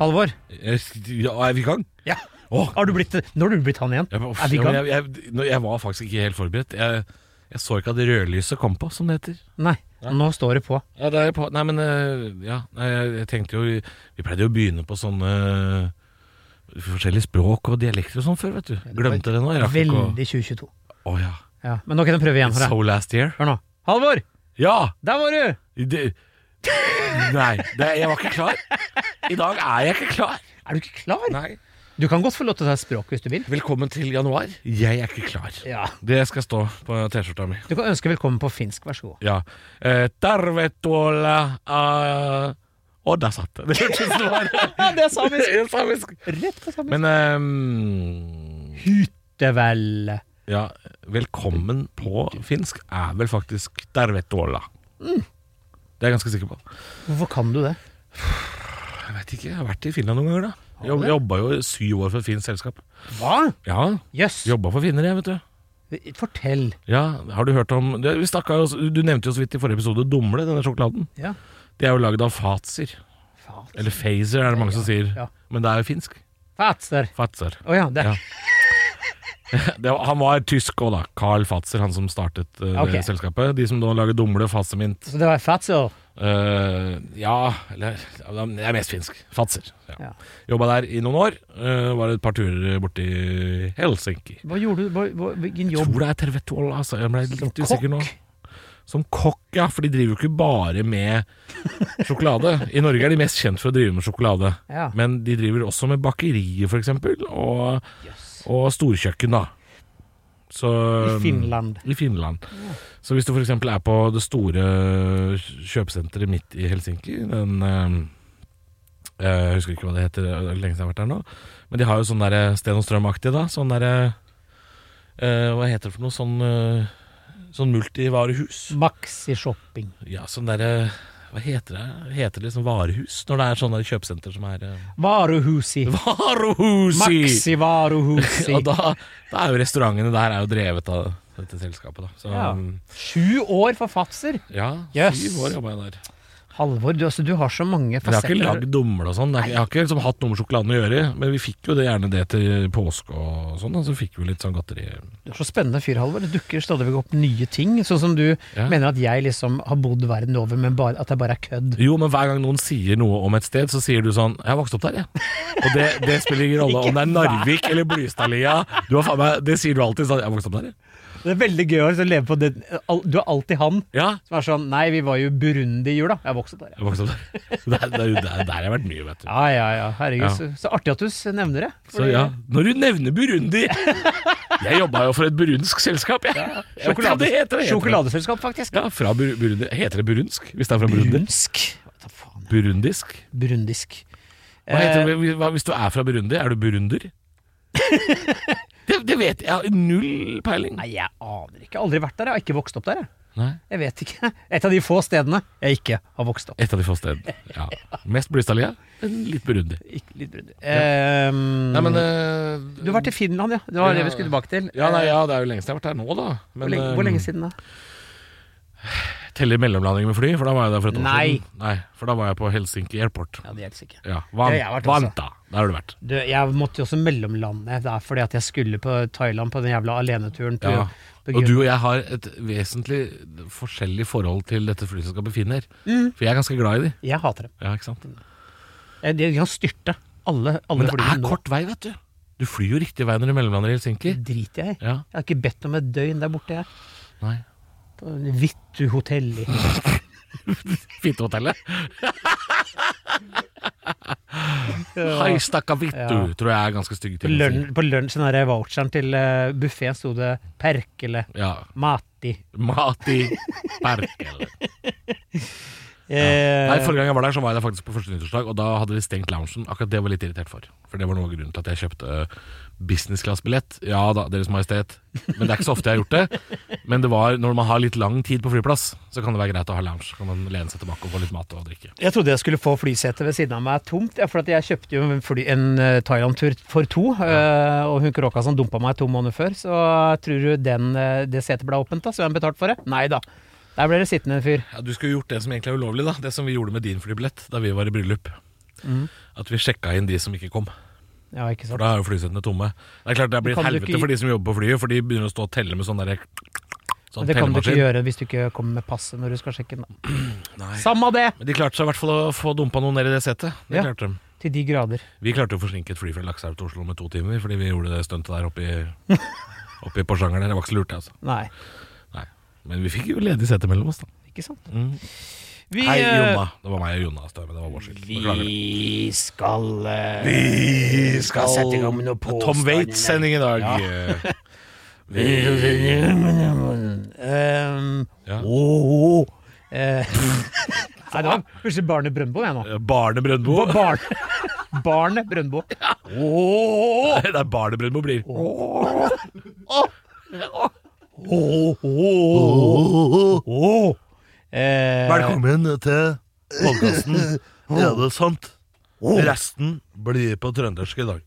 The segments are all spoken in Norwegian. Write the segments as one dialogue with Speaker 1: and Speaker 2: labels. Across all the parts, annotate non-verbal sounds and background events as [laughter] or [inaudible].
Speaker 1: Halvor,
Speaker 2: Jeg, ja, er vi i gang?
Speaker 1: ja.
Speaker 2: Åh.
Speaker 1: har du blitt, nå har du blitt han igjen.
Speaker 2: Jeg, uff,
Speaker 1: er vi i gang?
Speaker 2: Jeg, jeg, nå- jeg var faktisk ikke helt forberedt. Jeg, jeg så ikke at rødlyset kom på, som det heter.
Speaker 1: Nei, nå står det på.
Speaker 2: Ja, det er på. Nei, men eh, ja, nei, jeg, jeg tenkte jo Vi pleide jo å begynne på sånne eh, forskjellige språk og dialekter og sånn før, vet du. Glemte det nå. Jeg rakk ikke å
Speaker 1: Veldig 2022.
Speaker 2: Å ja.
Speaker 1: Ja, men nå kan jeg prøve igjen. Hør,
Speaker 2: So
Speaker 1: da.
Speaker 2: last year.
Speaker 1: hør nå. Halvor,
Speaker 2: Ja!
Speaker 1: der var du!
Speaker 2: Det, nei, det, jeg var ikke klar. I dag er jeg ikke klar.
Speaker 1: Er du ikke klar?
Speaker 2: Nei.
Speaker 1: Du kan godt få lov til å ta språk hvis du vil.
Speaker 2: Velkommen til januar. Jeg er ikke klar.
Speaker 1: Ja.
Speaker 2: Det skal stå på T-skjorta mi.
Speaker 1: Du kan ønske velkommen på finsk, vær så god.
Speaker 2: Ja. Eh, Tarvetola eh, Og der satt [laughs] det. Det hørtes ut som det var
Speaker 1: det er samisk.
Speaker 2: [laughs] Det er samisk.
Speaker 1: [laughs] Rett på samisk.
Speaker 2: Men ehm,
Speaker 1: Det er vel
Speaker 2: ja, velkommen på finsk er vel faktisk Tarvetola.
Speaker 1: Mm.
Speaker 2: Det er jeg ganske sikker på.
Speaker 1: Hvorfor kan du det?
Speaker 2: Jeg vet ikke, jeg har vært i Finland noen ganger, da.
Speaker 1: Har du
Speaker 2: Jeg
Speaker 1: det?
Speaker 2: jobba jo syv år for et fint selskap.
Speaker 1: Hva?
Speaker 2: Ja,
Speaker 1: Jøss.
Speaker 2: jobba for finner, jeg, vet du.
Speaker 1: Fortell.
Speaker 2: Ja, har Du hørt om det, vi snakket jo, Du nevnte jo så vidt i forrige episode Dumle, denne sjokoladen.
Speaker 1: Ja.
Speaker 2: Det er jo lagd av fatser.
Speaker 1: Fat.
Speaker 2: Eller phaser, er det mange som sier.
Speaker 1: ja.
Speaker 2: Men det er jo finsk.
Speaker 1: Fatser.
Speaker 2: Fatser.
Speaker 1: Å ja, det
Speaker 2: Ja. Det var, han var tysk òg, da. Carl Fatser, han som startet eh,
Speaker 1: Ok.
Speaker 2: det selskapet. De som nå lager Dumle, Fatsemint
Speaker 1: Så det var fatser.
Speaker 2: uh, Ja, eller ja, men Jeg er mest finsk. Fatser. Ja.
Speaker 1: Ja.
Speaker 2: Jobba der i noen år. eh, var et par turer borti Helsinki.
Speaker 1: Hva gjorde du? Hva, hva, hvilken
Speaker 2: Jeg
Speaker 1: jobb?
Speaker 2: tror det er Tervetol, altså. Jeg ble litt
Speaker 1: Som
Speaker 2: usikker nå.
Speaker 1: kokk?
Speaker 2: Som kokk, ja. For de driver jo ikke bare med sjokolade. I Norge er de mest kjent for å drive med sjokolade.
Speaker 1: Ja.
Speaker 2: Men de driver også med bakerier, f.eks. Og,
Speaker 1: Jøss.
Speaker 2: og storkjøkken, da. Så, um,
Speaker 1: I Finland.
Speaker 2: I Finland. Så hvis du f.eks. er på det store kjøpesenteret midt i Helsinki den, eh, Jeg husker ikke hva det heter, det er lenge siden jeg har vært der nå. Men de har jo sånn der Sten og Strøm-aktig, da. Sånn derre eh, Hva heter det for noe? Sånn, eh, sånn multivarehus.
Speaker 1: Maxi shopping.
Speaker 2: Ja, sånn derre Hva heter det? Heter det liksom varehus? Når det er sånne kjøpesenter som er eh,
Speaker 1: Varuhusi.
Speaker 2: Varehusi!
Speaker 1: Maxi Varuhusi.
Speaker 2: [laughs] Og da, da er jo restaurantene der er jo drevet av dette selskapet, da. Så
Speaker 1: Ja.
Speaker 2: ja,
Speaker 1: Sju år for Fatser!
Speaker 2: ja
Speaker 1: Yes.
Speaker 2: syv år jobba jeg der.
Speaker 1: Halvor, du, altså, du har så mange
Speaker 2: Men jeg har
Speaker 1: fasetter.
Speaker 2: ikke lagd dumle og sånn. Det er ikke- Jeg har ikke liksom hatt noe med sjokoladen å gjøre. Men vi fikk jo det, gjerne det til påske og sånn. da, Så fikk vi litt sånn godteri.
Speaker 1: Du er så spennende fyr, Halvor. Det dukker stadig vekk opp nye ting. Sånn som du
Speaker 2: Ja.
Speaker 1: mener at jeg liksom har bodd verden over, men bare, at jeg bare er kødd.
Speaker 2: Jo, men hver gang noen sier noe om et sted, så sier du sånn 'Jeg har vokst opp der, jeg'. Og det, det spiller ingen rolle om det er Narvik eller Blystadlia. Du har faen meg- Det sier du alltid sånn 'Jeg har vokst opp der, jeg'.
Speaker 1: Det er veldig gøy å liksom leve på det al- Du er alltid han
Speaker 2: Ja,
Speaker 1: som er sånn Nei, vi var jo i Burundi i jula. Jeg vokste opp der, ja.
Speaker 2: jeg har vokst opp der. [laughs] Så Det er, det er jo der, der har jeg vært mye, vet du.
Speaker 1: Ja, ja, ja. Herregud,
Speaker 2: Ja.
Speaker 1: Så, så artig at du s- nevner det.
Speaker 2: Så ja, når du nevner Burundi [laughs] Jeg jobba jo for et burundsk selskap, jeg. Jeg vet ikke hva det heter, det heter.
Speaker 1: Sjokoladeselskap, faktisk.
Speaker 2: Ja, fra Bur Burundi. Heter det burundsk? Hvis det er fra Burundi?
Speaker 1: Brunsk. Hva da faen?
Speaker 2: Burundisk?
Speaker 1: Burundisk.
Speaker 2: Hva heter det hva- hvis du er fra Burundi? Er du [laughs] burunder? det, det vet jeg. jeg. har Null peiling.
Speaker 1: Nei, jeg aner ikke. Jeg har aldri vært der. Jeg har ikke vokst opp der, jeg.
Speaker 2: Nei.
Speaker 1: Jeg vet ikke. [laughs] Et av de få stedene jeg ikke har vokst opp.
Speaker 2: Et av de få [laughs] stedene. Ja. Mest Blystadlia, men litt Burundi.
Speaker 1: Ikke litt brudd. Ehm,
Speaker 2: Nei, men eh,
Speaker 1: du har vært i Finland, ja. Det var det vi skulle tilbake til. Eh,
Speaker 2: ja, nei, ja, det er jo lenge siden jeg har vært her nå, da. Men,
Speaker 1: Hvor, lenge,
Speaker 2: eh,
Speaker 1: hvor lenge siden da?
Speaker 2: Teller mellomlanding med fly, for da var jeg der for et år
Speaker 1: Nei.
Speaker 2: siden. Nei. For da var jeg på Helsinki Airport.
Speaker 1: Ja, det hjelper ikke.
Speaker 2: Ja,
Speaker 1: Det har jeg vært
Speaker 2: vant,
Speaker 1: også.
Speaker 2: vant da. Der har du vært.
Speaker 1: Du, jeg måtte jo også mellomlande der fordi at jeg skulle på Thailand på den jævla aleneturen. På,
Speaker 2: Ja.
Speaker 1: på
Speaker 2: Og
Speaker 1: grunn-
Speaker 2: du og jeg har et vesentlig forskjellig forhold til dette flyselskapet Finner.
Speaker 1: Mm.
Speaker 2: For jeg er ganske glad i de.
Speaker 1: Jeg hater dem.
Speaker 2: Ja, ikke sant?
Speaker 1: Jeg- De kan styrte alle, alle
Speaker 2: Men det
Speaker 1: flyene
Speaker 2: er
Speaker 1: nå.
Speaker 2: kort vei, vet du. Du flyr jo riktig vei når du mellomlander i Helsinki.
Speaker 1: Det driter jeg i.
Speaker 2: Ja,
Speaker 1: Jeg har ikke bedt om et døgn der borte, jeg.
Speaker 2: nei
Speaker 1: På Vittu hotell i
Speaker 2: [laughs] Fittehotellet. Hei,
Speaker 1: Ja.
Speaker 2: stakka vittu,
Speaker 1: Ja.
Speaker 2: tror jeg er ganske stygg
Speaker 1: På
Speaker 2: til å si.
Speaker 1: lønn- På lunsj, den der voucheren til uh, buffeen, sto det Perkele
Speaker 2: Ja.
Speaker 1: [laughs] Mati.
Speaker 2: Mat i Perkele.
Speaker 1: Eh,
Speaker 2: Nei, Forrige gang jeg var der, så var jeg der faktisk på første nyttårsdag, og da hadde de stengt loungen. Akkurat det var jeg litt irritert for. For det var noe av grunnen til at jeg kjøpte businessclass-billett. Ja da, Deres Majestet. Men det er ikke så ofte jeg har gjort det. Men det var når man har litt lang tid på flyplass, så kan det være greit å ha lounge. Så kan man lene seg tilbake og få litt mat og drikke.
Speaker 1: Jeg trodde jeg skulle få flysetet ved siden av meg tomt, ja, for at jeg kjøpte jo en, fly- en eh, Thailand-tur for to, eh, og hun kråka som dumpa meg to måneder før, så tror du den, eh, det setet ble åpent da, så hvem betalte for det? Nei da. Der ble det sittende en fyr.
Speaker 2: Ja, Du skulle jo gjort det som egentlig er ulovlig, da. Det som vi gjorde med din flybillett da vi var i bryllup.
Speaker 1: Mm.
Speaker 2: At vi sjekka inn de som ikke kom.
Speaker 1: Ja, ikke
Speaker 2: For
Speaker 1: sant.
Speaker 2: da er jo flysetene tomme. Det er klart det blir
Speaker 1: Men kan du
Speaker 2: et helvete
Speaker 1: ikke-
Speaker 2: for de som jobber på flyet, for de begynner å stå og telle med sånn derre sånn
Speaker 1: Men det kan du ikke
Speaker 2: tellemaskin.
Speaker 1: gjøre hvis du ikke kommer med passet når du skal sjekke den. da.
Speaker 2: [clears throat] Nei.
Speaker 1: Samme det!
Speaker 2: Men de klarte seg i hvert fall å få dumpa noen ned i det setet. Det
Speaker 1: Ja.
Speaker 2: klarte de.
Speaker 1: Til de grader.
Speaker 2: Vi klarte å forsinke et fly fra Lakselv til Oslo med to timer fordi vi gjorde det stuntet der oppe [laughs] i, oppe i Porsanger. der. Det var ikke så lurt, altså.
Speaker 1: Nei,
Speaker 2: Nei. Men vi fikk jo ledig sete mellom oss, da.
Speaker 1: ikke sant.
Speaker 2: Mm.
Speaker 1: Vi,
Speaker 2: Hei,
Speaker 1: eh,
Speaker 2: Jonna. Det var meg og Jonna Støme. Det var vår skyld. Beklager.
Speaker 1: Vi skal eh,
Speaker 2: Vi
Speaker 1: skal sette i gang med noe
Speaker 2: Tom
Speaker 1: påstander.
Speaker 2: Waits-sending i dag. eh,
Speaker 1: Um,
Speaker 2: Ja.
Speaker 1: åh, åh. Ehm, Eh, Nei, det var plutselig Barne Brøndbo, jeg nå.
Speaker 2: Barne Brøndbo.
Speaker 1: Barne, barne Brøndbo. oh,
Speaker 2: Åh! [laughs] Det er Barne Brøndbo blir.
Speaker 1: Åh. Eh,
Speaker 2: Velkommen til podkasten [laughs] Er det sant? Resten blir på trøndersk [laughs] i dag.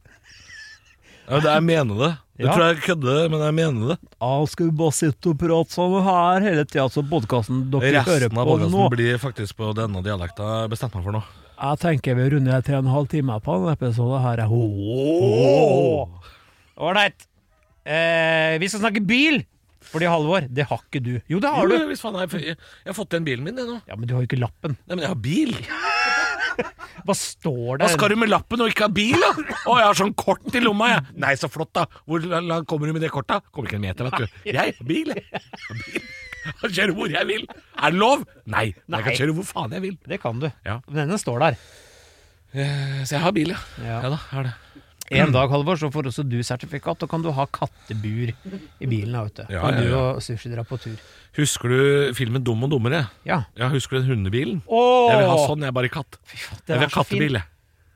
Speaker 2: Ja, det er menede. Det
Speaker 1: Ja.
Speaker 2: tror jeg er kødde, men jeg mener det.
Speaker 1: ah, skal vi bare sitte og prate sånn her hele tida, så podkasten dere hører
Speaker 2: Resten av
Speaker 1: på nå
Speaker 2: podkasten blir faktisk på denne dialekta jeg bestemte meg for nå.
Speaker 1: Jeg tenker vi runder tre og en halv time på denne episoden her.
Speaker 2: Oh.
Speaker 1: Ålreit. Eh, vi skal snakke bil, fordi Halvor, det har ikke du. Jo, det har
Speaker 2: Jo,
Speaker 1: du.
Speaker 2: hvis faen, jeg, jeg, jeg har fått den bilen min, jeg nå.
Speaker 1: Ja, Men du har jo ikke lappen.
Speaker 2: Nei, men jeg har bil.
Speaker 1: Hva står
Speaker 2: Hva
Speaker 1: det?
Speaker 2: skal du med lappen og ikke ha bil, da? Å, jeg har sånn kort i lomma, jeg. Nei, så flott, da. Hvor la- langt kommer du med det kortet? Kommer ikke en meter, vet du. Jeg har bil, jeg. Jeg har bil. Jeg kan kjøre hvor jeg vil. Er det lov? Nei.
Speaker 1: Nei.
Speaker 2: Men jeg kan kjøre hvor faen jeg vil.
Speaker 1: Det kan du.
Speaker 2: Ja.
Speaker 1: Men Denne står der.
Speaker 2: Eh, Så jeg har bil, ja.
Speaker 1: Ja.
Speaker 2: Ja, da, jeg har det.
Speaker 1: En dag, Halvor, så får også du sertifikat, og kan du ha kattebur i bilen. da, Vet du.
Speaker 2: Ja,
Speaker 1: kan
Speaker 2: ja,
Speaker 1: du
Speaker 2: ja.
Speaker 1: og Sushi dra på tur.
Speaker 2: Husker du filmen Dum og dummere?
Speaker 1: Ja.
Speaker 2: Ja, husker du den hundebilen?
Speaker 1: Åh!
Speaker 2: Jeg vil ha sånn, jeg er bare katt.
Speaker 1: Fy faen,
Speaker 2: Jeg
Speaker 1: den
Speaker 2: vil
Speaker 1: er så
Speaker 2: ha
Speaker 1: fin.
Speaker 2: kattebil, jeg.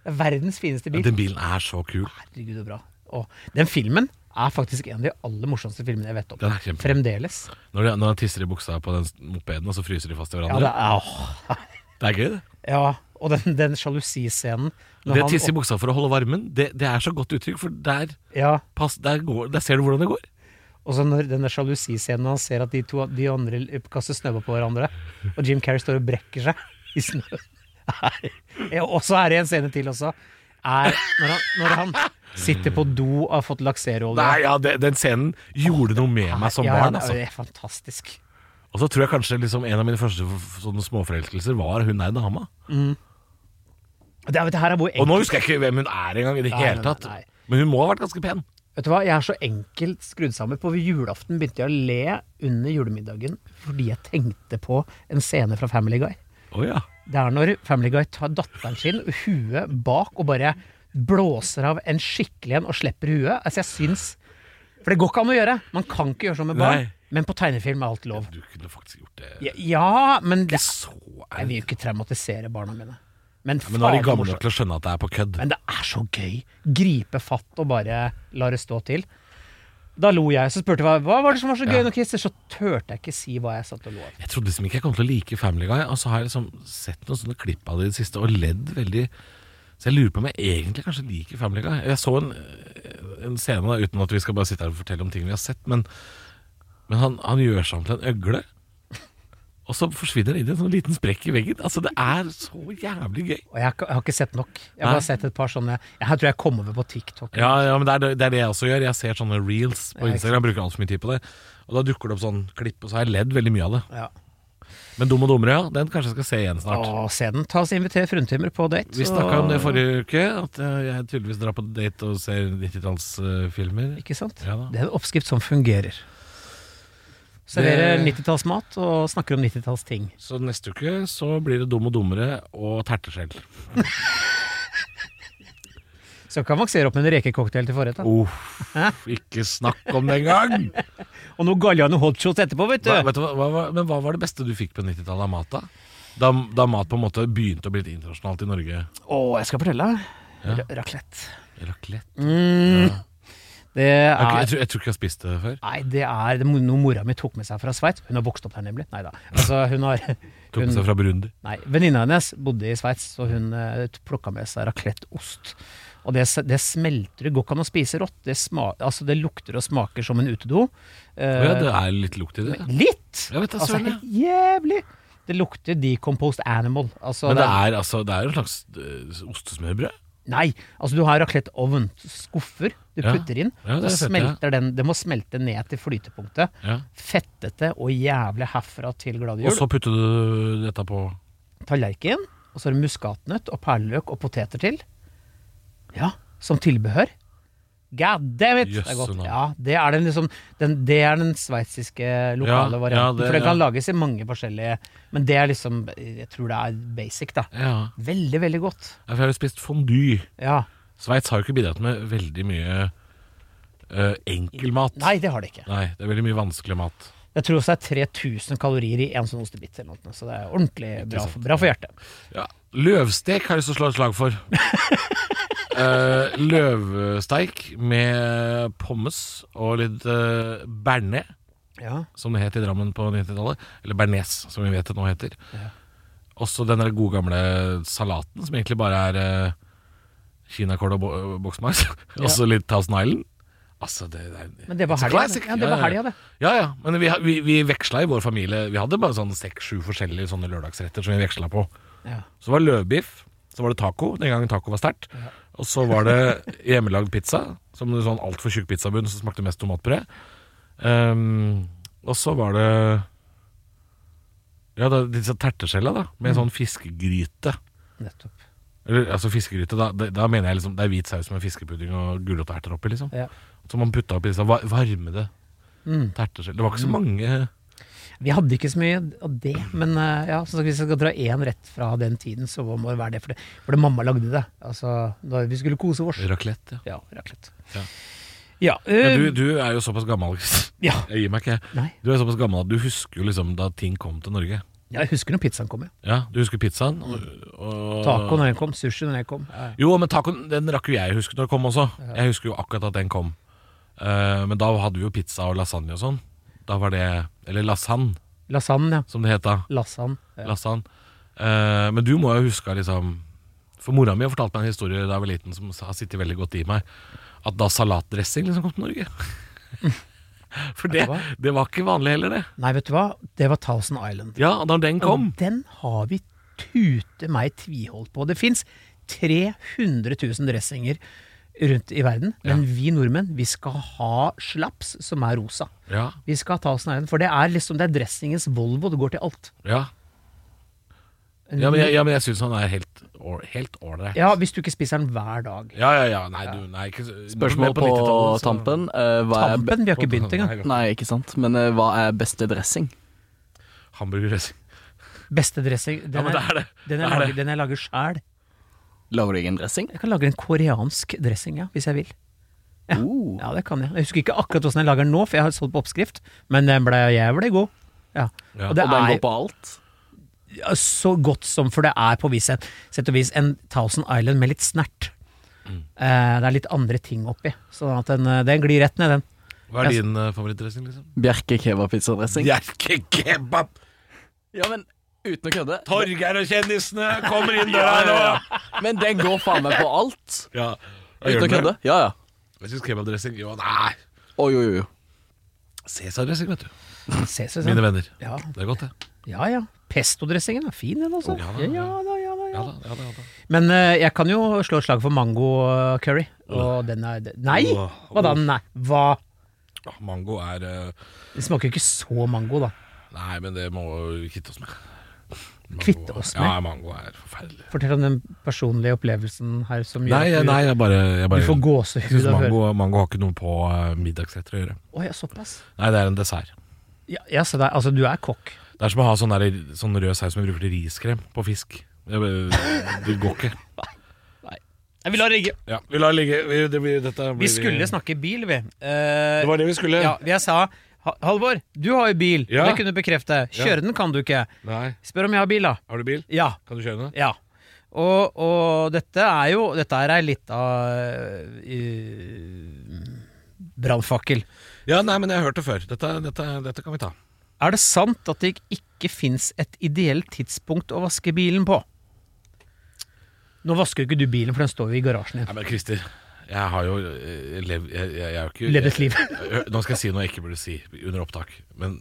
Speaker 1: Det er Verdens fineste
Speaker 2: Ja,
Speaker 1: bil.
Speaker 2: Den bilen er så kul.
Speaker 1: Herregud, så bra. Åh, den filmen er faktisk en av de aller morsomste filmene jeg vet om.
Speaker 2: Den er kjempe-
Speaker 1: Fremdeles.
Speaker 2: Når de, når de tisser i buksa på den s- mopeden, og så fryser de fast i
Speaker 1: Ja, det
Speaker 2: hverandre.
Speaker 1: er, åh.
Speaker 2: det er gøy, det.
Speaker 1: ja. Og den, den sjalusiscenen. når
Speaker 2: Det å
Speaker 1: han-
Speaker 2: tisse i buksa for å holde varmen, det, det er så godt uttrykk, for der,
Speaker 1: Ja,
Speaker 2: pass, der, går, der ser du hvordan det går.
Speaker 1: Og så når denne sjalusiscenen når han ser at de to de andre l- kaster snøball på hverandre, og Jim Carrey står og brekker seg i snø. Nei. Ja, Og så er det en scene til også. Er når han, når han sitter på do og har fått lakserolje.
Speaker 2: Nei, ja, det, Den scenen gjorde noe med meg som
Speaker 1: ja,
Speaker 2: barn.
Speaker 1: Ja,
Speaker 2: Altså.
Speaker 1: det er fantastisk.
Speaker 2: Og så tror jeg kanskje liksom en av mine første f- sånne småforelskelser var hun der dama.
Speaker 1: Det, er- vet, du, her er hvor
Speaker 2: Og nå
Speaker 1: enkelt,
Speaker 2: husker jeg ikke hvem hun er engang, i det
Speaker 1: Nei,
Speaker 2: hele
Speaker 1: nei,
Speaker 2: tatt.
Speaker 1: nei, nei.
Speaker 2: Men hun må ha vært ganske pen.
Speaker 1: vet du hva, jeg er så enkelt skrudd sammen. På julaften begynte jeg å le under julemiddagen fordi jeg tenkte på en scene fra Family Guy.
Speaker 2: Å ja.
Speaker 1: Det er når Family Guy tar datteren sin, huet bak, og bare blåser av en skikkelig en og slipper huet. Altså, jeg syns For det går ikke an å gjøre. Man kan ikke gjøre sånn med barn.
Speaker 2: Nei.
Speaker 1: Men på tegnefilm er alt lov.
Speaker 2: Du kunne faktisk gjort det.
Speaker 1: Ja, ja men det,
Speaker 2: Så
Speaker 1: jeg
Speaker 2: ærlig.
Speaker 1: vil jo ikke traumatisere barna mine. Men,
Speaker 2: Men nå er de
Speaker 1: faen,
Speaker 2: gamle
Speaker 1: morsomt.
Speaker 2: nok til å skjønne at det er på kødd.
Speaker 1: Men det er så gøy. Gripe fatt og bare la det stå til. Da lo jeg, så spurte jeg hva, hva var det som var så gøy
Speaker 2: Ja.
Speaker 1: når Christer, så turte jeg ikke si hva jeg satt og lo av.
Speaker 2: Jeg trodde liksom ikke jeg kom til å like Family Guy, og så har jeg liksom sett noen sånne klipp av det i det siste og ledd veldig. Så jeg lurer på om jeg egentlig kanskje liker Family Guy. Jeg så en, en scene da, uten at vi skal bare sitte her og fortelle om ting vi har sett, men, men han, han gjør seg om til en øgle. Og så forsvinner han inn i en sånn liten sprekk i veggen. Altså, det er så jævlig gøy.
Speaker 1: Og jeg, har ikke- jeg har ikke sett nok. Jeg har
Speaker 2: Nei.
Speaker 1: bare sett et par sånne Jeg her tror jeg kom over på TikTok.
Speaker 2: Ja, ja men det er, det er det jeg også gjør. Jeg ser sånne reels på
Speaker 1: Ja, ikke
Speaker 2: Instagram, bruker altfor mye tid på det. Og da dukker det opp sånn klipp, og så har jeg ledd veldig mye av det.
Speaker 1: Ja.
Speaker 2: Men Dum og dummere, ja. Den kanskje jeg skal se igjen snart.
Speaker 1: Å, se den. Ta oss inviter fruntimer på date.
Speaker 2: Vi
Speaker 1: og-
Speaker 2: snakka om det forrige uke, at eh, jeg tydeligvis drar på date og ser eh, 90-tallsfilmer.
Speaker 1: Ikke sant?
Speaker 2: Ja da.
Speaker 1: det er en oppskrift som fungerer. Serverer 90-tallsmat og snakker om 90-tallsting.
Speaker 2: Så neste uke så blir det Dum og dummere og terteskjell.
Speaker 1: Så kan man se opp med en rekecocktail til forrett. da. [laughs]
Speaker 2: Uff, ikke snakk om det engang!
Speaker 1: Og noe Galliano hotshots etterpå, vet [laughs] du.
Speaker 2: Hva, vet du hva, hva, var- men hva var det beste du fikk på 90-tallet av mat, da? Da, da mat på en måte begynte å bli litt internasjonalt i Norge.
Speaker 1: Å, jeg skal fortelle deg.
Speaker 2: Ja.
Speaker 1: Ja. Raclette.
Speaker 2: Raclette?
Speaker 1: Mm. Det
Speaker 2: Jeg, jeg,
Speaker 1: er
Speaker 2: tror, jeg tror ikke jeg har spist det før.
Speaker 1: Nei, det er det er noe mora mi tok med seg fra Sveits. Hun har vokst opp der, nemlig. Nei da. Altså, hun har
Speaker 2: Tok
Speaker 1: hun,
Speaker 2: med seg fra Burundi.
Speaker 1: Nei, Venninna hennes bodde i Sveits, så hun uh, plukka med seg racletteost. Og det, s- det smelter. Det går ikke an å spise rått. Det, sma, altså, det lukter og smaker som en utedo.
Speaker 2: Å Ja,
Speaker 1: Eh,
Speaker 2: det er litt lukt i det.
Speaker 1: litt!
Speaker 2: Jeg vet da
Speaker 1: altså,
Speaker 2: søren, ja.
Speaker 1: helt jævlig! Det lukter decomposed animal. Altså,
Speaker 2: Men det
Speaker 1: er-
Speaker 2: er, altså, det er en slags øh, ostesmørbrød.
Speaker 1: Nei, altså du har raklettovn, skuffer du
Speaker 2: Ja.
Speaker 1: putter inn, så
Speaker 2: Ja, det har jeg sett,
Speaker 1: smelter den, det må smelte ned til flytepunktet.
Speaker 2: Ja.
Speaker 1: Fettete og jævlig herfra til glade
Speaker 2: Og
Speaker 1: jul.
Speaker 2: så putter du dette på
Speaker 1: Tallerken, og så er det muskatnøtt og perleløk og poteter til. Ja, som tilbehør. God damn it! det er
Speaker 2: Jøsse
Speaker 1: godt.
Speaker 2: navn.
Speaker 1: Ja, det er den, liksom, den, det er den sveitsiske lokale
Speaker 2: Ja, ja,
Speaker 1: varianten.
Speaker 2: det-
Speaker 1: for den kan
Speaker 2: ja.
Speaker 1: lages i mange forskjellige Men det er liksom Jeg tror det er basic, da.
Speaker 2: Ja.
Speaker 1: Veldig, veldig godt.
Speaker 2: Ja, For jeg har jo spist fondue.
Speaker 1: Ja.
Speaker 2: Sveits har jo ikke bidratt med veldig mye øh, enkel mat.
Speaker 1: Nei, det har det ikke.
Speaker 2: Nei, det er veldig mye vanskelig mat.
Speaker 1: Jeg tror også det er 3000 kalorier i en sånn ostebit, eller noe, så det er ordentlig bra for, bra for hjertet.
Speaker 2: Ja, Løvstek har jeg lyst til å slå et slag for. Eh, løvsteik med pommes og litt uh, bearnés,
Speaker 1: Ja.
Speaker 2: som det het i Drammen på 90-tallet. Eller bearnés, som vi vet det nå heter. Også den der gode gamle salaten, som egentlig bare er eh, kinakål og bo boksmais. [laughs] Også litt Thousand Island. Altså, det, det er
Speaker 1: Men det var
Speaker 2: It's a
Speaker 1: helga, det.
Speaker 2: classic.
Speaker 1: Ja, det var helga, det.
Speaker 2: Ja, ja. Men vi, vi, vi veksla i vår familie. Vi hadde bare sånn seks-sju forskjellige sånne lørdagsretter som vi veksla på.
Speaker 1: Ja.
Speaker 2: Så var det løvbiff, så var det taco, den gangen taco var sterkt. Og så var det [laughs] hjemmelagd pizza, som en sånn altfor tjukk pizzabunn som smakte mest tomatpuré. Ehm, og så var det Ja, da, disse terteskjella, da, med
Speaker 1: Mm.
Speaker 2: sånn fiskegryte.
Speaker 1: Nettopp.
Speaker 2: Eller, altså fiskegryte, da, da, da mener jeg liksom det er hvit saus med fiskepudding og gulrotterter oppi, liksom.
Speaker 1: Ja. Mm.
Speaker 2: Som man putta oppi disse va- varmede terteskjell. Det var ikke så mange
Speaker 1: Vi hadde ikke så mye av det, men eh, ja, som sagt, hvis jeg skal dra én rett fra den tiden, så må det være det. For det, for det mamma lagde det. Altså, da vi skulle kose oss.
Speaker 2: raclette. Ja.
Speaker 1: Ja, raclette.
Speaker 2: Ja.
Speaker 1: Ja,
Speaker 2: Men du,
Speaker 1: øh,
Speaker 2: du er jo såpass gammel, Chris. [laughs]
Speaker 1: ja.
Speaker 2: Jeg gir meg ikke.
Speaker 1: Nei.
Speaker 2: Du er såpass gammel at du husker jo liksom da ting kom til Norge.
Speaker 1: Jeg husker når pizzaen kom, ja.
Speaker 2: Ja, Du husker pizzaen?
Speaker 1: Mm.
Speaker 2: Og, og,
Speaker 1: Taco når den kom, sushi når den kom. Ja.
Speaker 2: Jo, men tacoen den rakk jo jeg å huske når den kom også. Jeg husker jo akkurat at den kom. Eh, men da hadde vi jo pizza og lasagne og sånn. Da var det Eller lasagne,
Speaker 1: Lasagne, ja.
Speaker 2: som det het da.
Speaker 1: Lasagne. Ja.
Speaker 2: Lasagne. Eh, men du må jo huske liksom For mora mi har fortalt meg en historie da jeg var liten som har sittet veldig godt i meg. At da salatdressing liksom kom til Norge. For det,
Speaker 1: Vet du hva?
Speaker 2: det var ikke vanlig heller, det.
Speaker 1: Nei, vet du hva? Det var Thousand Island.
Speaker 2: Ja, da den kom.
Speaker 1: Og den har vi tute meg tviholdt på. Det fins 300 000 dressinger rundt i verden, men vi nordmenn vi skal ha slaps som er rosa.
Speaker 2: Ja,
Speaker 1: Vi skal ta oss nærheten, for det er liksom det er dressingens Volvo, det går til alt.
Speaker 2: ja. Ja, men jeg, ja, men jeg syns han er helt or- helt ålreit.
Speaker 1: Ja, hvis du ikke spiser den hver dag.
Speaker 2: ja, ja, ja. Nei, du nei, ikke, men
Speaker 3: Spørsmål på,
Speaker 2: 90-tallet, så-
Speaker 3: tampen. eh, hva er be-
Speaker 1: Tampen, vi har ikke begynt engang.
Speaker 3: Nei, ikke sant. Men eh, hva er beste dressing?
Speaker 2: Hamburgerdressing.
Speaker 1: Beste dressing. Den
Speaker 2: Ja, men det er det.
Speaker 1: Den
Speaker 2: Det er
Speaker 1: jeg lager,
Speaker 2: det.
Speaker 1: den jeg lager sjæl.
Speaker 3: Lager du egen dressing?
Speaker 1: Jeg kan lage en koreansk dressing, ja, hvis jeg vil.
Speaker 3: Uh,
Speaker 1: Ja, det kan jeg. Jeg husker ikke akkurat åssen jeg lager den nå, for jeg har solgt på oppskrift, men den ble jævlig god. Ja.
Speaker 2: Ja.
Speaker 3: og den går på alt?
Speaker 1: Ja, så godt som, for det er på vis, sett og vis en Thousand Island med litt snert.
Speaker 2: Mm.
Speaker 1: Eh, det er litt andre ting oppi, sånn at den, eh, den glir rett ned, den.
Speaker 2: Hva er din eh, favorittdressing, liksom?
Speaker 3: Bjerke kebabpizzadressing?
Speaker 2: Jerke kebab!
Speaker 3: Ja, men uten å kødde.
Speaker 2: Torgeir og kjendisene kommer inn døra nå!
Speaker 3: Men den går faen meg på alt.
Speaker 2: Ja. Hva gjør
Speaker 3: Uten å
Speaker 2: den
Speaker 3: kødde.
Speaker 2: med?
Speaker 3: Ja, ja.
Speaker 2: Jeg syns kebabdressing Jo, nei.
Speaker 3: Oi, oi, oi.
Speaker 2: Cæsardressing, vet du.
Speaker 1: Ses vi
Speaker 2: Mine
Speaker 1: sånn.
Speaker 2: venner.
Speaker 1: Ja.
Speaker 2: Det er godt, det.
Speaker 1: ja ja. Pestodressingen er fin, den også.
Speaker 2: Ja da,
Speaker 1: Ja da, ja da.
Speaker 2: Ja
Speaker 1: Ja.
Speaker 2: da, ja da, ja da.
Speaker 1: Men eh, jeg kan jo slå et slag for mango-curry, og den er Nei!
Speaker 2: Åh,
Speaker 1: Hva da?
Speaker 2: åh.
Speaker 1: Nei. Hva?
Speaker 2: Ah, Mango er eh,
Speaker 1: Det smaker jo ikke så mango, da.
Speaker 2: Nei, men det må vi kvitte oss med. Mango-
Speaker 1: Kvitte oss med?
Speaker 2: Ja, mango er forferdelig.
Speaker 1: Fortell om den personlige opplevelsen her som gjør
Speaker 2: Nei,
Speaker 1: at
Speaker 2: jeg-
Speaker 1: du,
Speaker 2: nei, jeg bare, jeg bare
Speaker 1: du får
Speaker 2: Jeg
Speaker 1: gåsehud
Speaker 2: synes
Speaker 1: av å høre.
Speaker 2: mango, mango har ikke noe på eh, middagsretter å gjøre.
Speaker 1: Å ja, såpass.
Speaker 2: Nei, det er en dessert.
Speaker 1: Ja, ja, så det er, altså, du er kokk.
Speaker 2: Det er som å ha sånn, der, sånn rød saus som vi bruker til riskrem på fisk. Det, det går ikke.
Speaker 1: Jeg vil ha rigge.
Speaker 2: Ja, vi lar det ligge. Vi, det blir, dette blir
Speaker 1: Vi skulle snakke bil, vi. Eh,
Speaker 2: Det var det vi skulle.
Speaker 1: ja, jeg sa Ha- Halvor, du har jo bil.
Speaker 2: Ja.
Speaker 1: Det kunne du bekrefte. Kjøre den kan du ikke.
Speaker 2: Nei.
Speaker 1: Spør om jeg har bil, da.
Speaker 2: Har du bil?
Speaker 1: Ja.
Speaker 2: Kan du kjøre den?
Speaker 1: Ja. Og, og dette er jo Dette er ei lita uh, brannfakkel.
Speaker 2: Ja, nei, men jeg har hørt det før. Dette, dette, dette kan vi ta.
Speaker 1: Er det sant at det ikke fins et ideelt tidspunkt å vaske bilen på? Nå vasker jo ikke du bilen, for den står jo i garasjen din.
Speaker 2: Nei, men Christer, jeg har jo eh, lev, jeg, jeg, jeg er jo ikke
Speaker 1: Levd et liv.
Speaker 2: [laughs] Hør, Nå skal jeg si noe jeg ikke burde si under opptak, men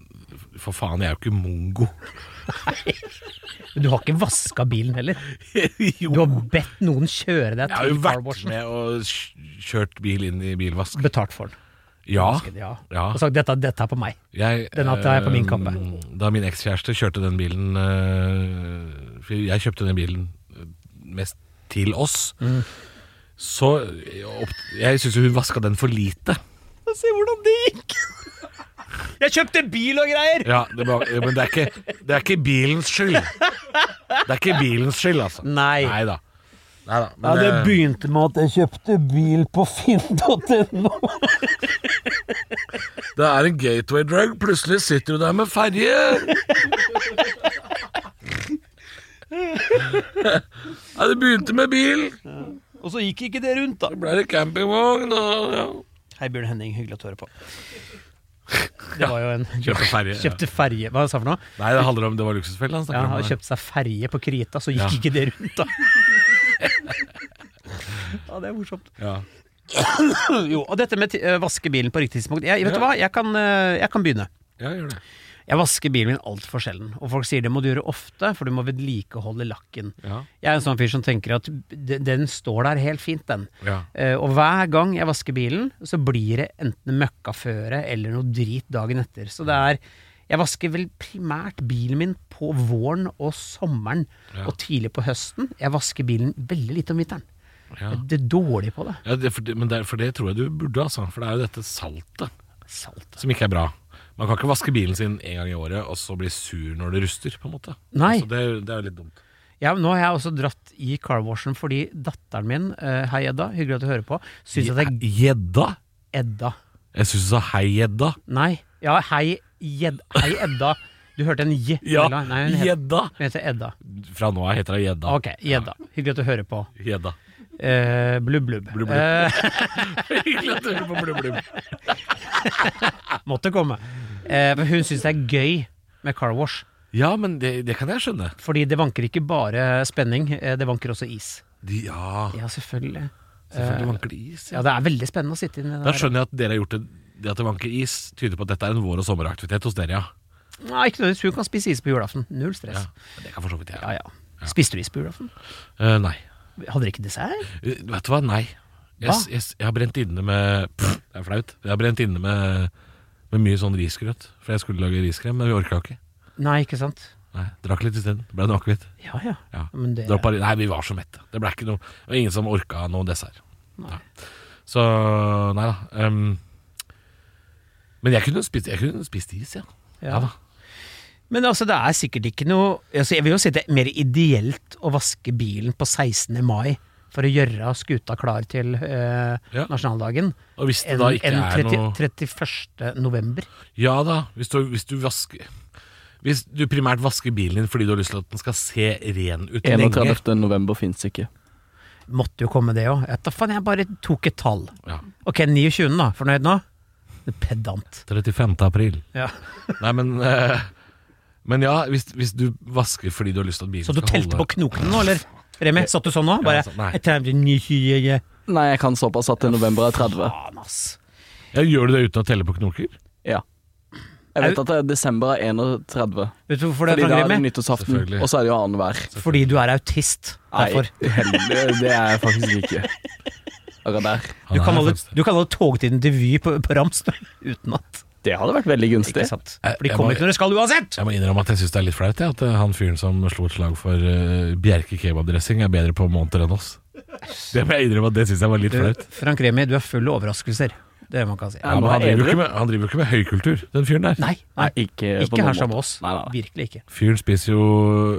Speaker 2: for faen, jeg er jo ikke mongo.
Speaker 1: Men Du har ikke vaska bilen heller.
Speaker 2: [laughs] jo.
Speaker 1: Du har bedt noen kjøre deg
Speaker 2: Jeg har jo
Speaker 1: til
Speaker 2: vært
Speaker 1: carwashen.
Speaker 2: med og kj- kjørt bil inn i bilvask.
Speaker 1: Betalt for den.
Speaker 2: Ja.
Speaker 1: Vasket, ja.
Speaker 2: Ah. ja.
Speaker 1: Og sagt 'dette, dette er på meg'.
Speaker 2: Jeg,
Speaker 1: Den har jeg på min kappe.
Speaker 2: eh, Da min ekskjæreste kjørte den bilen eh, For jeg kjøpte den bilen eh, mest til oss.
Speaker 1: Mm.
Speaker 2: Så eh, opp, Jeg syns hun vaska den for lite.
Speaker 1: Se hvordan det gikk! Jeg kjøpte bil og greier!
Speaker 2: Ja, det var, Men det er, ikke, det er ikke bilens skyld. Det er ikke bilens skyld, altså.
Speaker 1: Nei.
Speaker 2: Neida. Neida,
Speaker 1: Ja,
Speaker 2: men,
Speaker 1: det
Speaker 2: eh,
Speaker 1: begynte med at jeg kjøpte bil på finn.no.
Speaker 2: Det er en gateway drug. Plutselig sitter du der med ferje. Nei, det begynte med bil.
Speaker 1: Og så gikk ikke det rundt, da.
Speaker 2: Så ble det campingvogn og ja.
Speaker 1: Hei, Bjørn Henning, hyggelig at du hører på. Det var jo en
Speaker 2: [laughs] Kjøpte ferje.
Speaker 1: Kjøpte ferje Hva sa han for noe?
Speaker 2: Nei, det handler om det var luksusfelle han
Speaker 1: Ja,
Speaker 2: snakker
Speaker 1: han
Speaker 2: om.
Speaker 1: hadde kjøpt seg ferje på Krita, så gikk
Speaker 2: Ja.
Speaker 1: ikke det
Speaker 2: [laughs]
Speaker 1: rundt, da. Ja, det er morsomt.
Speaker 2: Ja.
Speaker 1: Jo, og dette med ti- øh, vaske bilen på riktig tidspunkt jeg, Vet du hva, jeg kan, øh, jeg kan begynne.
Speaker 2: ja, gjør det.
Speaker 1: Jeg vasker bilen min altfor sjelden, og folk sier det må du gjøre ofte, for du må vedlikeholde lakken.
Speaker 2: Ja.
Speaker 1: Jeg er en sånn fyr som tenker at den, den står der helt fint, den.
Speaker 2: Ja.
Speaker 1: Eh, og hver gang jeg vasker bilen, så blir det enten møkkaføre eller noe drit dagen etter. Så det er Jeg vasker vel primært bilen min på våren og sommeren
Speaker 2: Ja.
Speaker 1: og tidlig på høsten. Jeg vasker bilen veldig lite om vinteren.
Speaker 2: Ja.
Speaker 1: Det er dårlig på det.
Speaker 2: Ja, det, for, det, men det, for det tror jeg du burde, altså. For det er jo dette saltet
Speaker 1: Salt.
Speaker 2: som ikke er bra. Man kan ikke vaske bilen sin en gang i året og så bli sur når det ruster, på en måte.
Speaker 1: Nei.
Speaker 2: Altså, det, er jo- det er jo litt dumt.
Speaker 1: Ja, men nå har jeg også dratt i carwashen fordi datteren min, eh, hei Edda, hyggelig at du hører på, syns at jeg
Speaker 2: Gjedda?
Speaker 1: Edda.
Speaker 2: Jeg syns du sa hei, gjedda.
Speaker 1: Nei. Ja, hei, Jed, hei Edda. Du hørte en j?
Speaker 2: Ja,
Speaker 1: Nei, hun heter,
Speaker 2: gjedda.
Speaker 1: hun heter Edda.
Speaker 2: Fra nå av heter hun gjedda.
Speaker 1: Ok, Gjedda. Hyggelig at du hører på.
Speaker 2: Gjedda.
Speaker 1: Eh, blubb, blubb. Eh,
Speaker 2: [laughs] Hyggelig at du hører på Blubb Blubb.
Speaker 1: måtte komme. Eh, men hun syns det er gøy med car wash.
Speaker 2: Ja, men det, det kan jeg skjønne.
Speaker 1: Fordi det vanker ikke bare spenning, eh, det vanker også is.
Speaker 2: De, ja,
Speaker 1: Ja, selvfølgelig.
Speaker 2: selvfølgelig vanker det is.
Speaker 1: Eh, Ja, det er veldig spennende å sitte inne
Speaker 2: Da
Speaker 1: der.
Speaker 2: skjønner jeg at dere har gjort det. Det at det vanker is, tyder på at dette er en vår- og sommeraktivitet hos dere, ja.
Speaker 1: Nei, ikke nødvendigvis. Hun kan spise is på julaften. Null
Speaker 2: ja.
Speaker 1: stress.
Speaker 2: Det kan for så vidt jeg.
Speaker 1: Ja, ja. Spiste du is på julaften?
Speaker 2: Eh, nei.
Speaker 1: Hadde dere ikke dessert?
Speaker 2: Eh, Vet du hva? Nei. Jeg,
Speaker 1: Hva?
Speaker 2: jeg, jeg har brent inne med [laughs] pff, Det er flaut. Jeg har brent inne med, med mye sånn risgrøt. For jeg skulle lage riskrem, men vi orka ikke.
Speaker 1: Nei, ikke sant?
Speaker 2: Nei, Drakk litt isteden. Ble det akevitt.
Speaker 1: Ja ja.
Speaker 2: Ja.
Speaker 1: Men det
Speaker 2: Droppa litt- Nei, vi var så mette. Det ble ikke noe Det var ingen som orka noe dessert.
Speaker 1: Nei.
Speaker 2: Så nei da. ehm, men jeg kunne spist, jeg kunne spist is, ja.
Speaker 1: Ja.
Speaker 2: da.
Speaker 1: Men altså, det er sikkert ikke noe altså, Jeg vil jo si det er mer ideelt å vaske bilen på 16. mai for å gjøre skuta klar til eh,
Speaker 2: Ja.
Speaker 1: nasjonaldagen,
Speaker 2: Og hvis det
Speaker 1: enn
Speaker 2: da ikke
Speaker 1: enn
Speaker 2: er
Speaker 1: 30
Speaker 2: noe
Speaker 1: 31. november.
Speaker 2: Ja da, hvis du, hvis du vasker Hvis du primært vasker bilen din fordi du har lyst til at den skal se ren ut lenge
Speaker 3: 31. november fins ikke.
Speaker 1: Måtte jo komme det òg. Jeg bare tok et tall.
Speaker 2: ja.
Speaker 1: Ok, 29., da. Fornøyd nå? Pedant.
Speaker 2: 35. april.
Speaker 1: Ja.
Speaker 2: Nei, men eh, Men ja, hvis, hvis du vasker fordi du har lyst til at bilen
Speaker 1: Så du
Speaker 2: skal
Speaker 1: telte på
Speaker 2: holde
Speaker 1: knokene nå, eller? Remi, satt du sånn nå? Bare
Speaker 2: Ja, så- nei.
Speaker 1: jeg tenkte 29.
Speaker 3: Nei, jeg kan såpass at det er november er 30.
Speaker 1: Faen, ass.
Speaker 2: ja, Gjør du det uten å telle på knoker?
Speaker 3: Ja. Jeg vet at det er desember er 31.
Speaker 1: Vet du hvorfor det
Speaker 3: Fordi
Speaker 1: er
Speaker 3: da er det
Speaker 1: Remi?
Speaker 3: nyttårsaften,
Speaker 2: Selvfølgelig.
Speaker 3: og så er det jo annenhver.
Speaker 1: Fordi du er autist.
Speaker 3: Nei,
Speaker 1: Derfor.
Speaker 3: heldig, [laughs] det er jeg faktisk ikke. Akkurat der.
Speaker 2: Han
Speaker 1: Du kan,
Speaker 2: er
Speaker 1: holde,
Speaker 2: faktisk-
Speaker 1: du kan holde togtiden til Vy på, på rams du, [laughs] utenat.
Speaker 3: Det hadde vært veldig
Speaker 1: Ikke
Speaker 3: gunstig.
Speaker 1: sant?
Speaker 2: Jeg-
Speaker 1: For de
Speaker 2: jeg
Speaker 1: kommer
Speaker 2: må-
Speaker 1: ikke når de skal uansett!
Speaker 2: Jeg må innrømme at jeg syns det er litt flaut, jeg. At eh, han fyren som slo et slag for eh, Bjerke kebabdressing, er bedre på måneder enn oss. Det må jeg innrømme at det syns jeg var litt flaut.
Speaker 1: Frank Remi, du er full av overraskelser. Det er det man kan si.
Speaker 3: Ja,
Speaker 2: Ja,
Speaker 3: nå
Speaker 2: men
Speaker 3: er
Speaker 2: han driver jo
Speaker 3: edru.
Speaker 2: ikke med, han driver jo ikke med høykultur, den fyren der.
Speaker 1: Nei, nei.
Speaker 3: Nei, ikke på
Speaker 1: Ikke
Speaker 3: noen
Speaker 1: her sammen
Speaker 3: måte.
Speaker 1: med oss.
Speaker 3: Nei, nei, nei.
Speaker 1: Virkelig ikke.
Speaker 2: Fyren spiser jo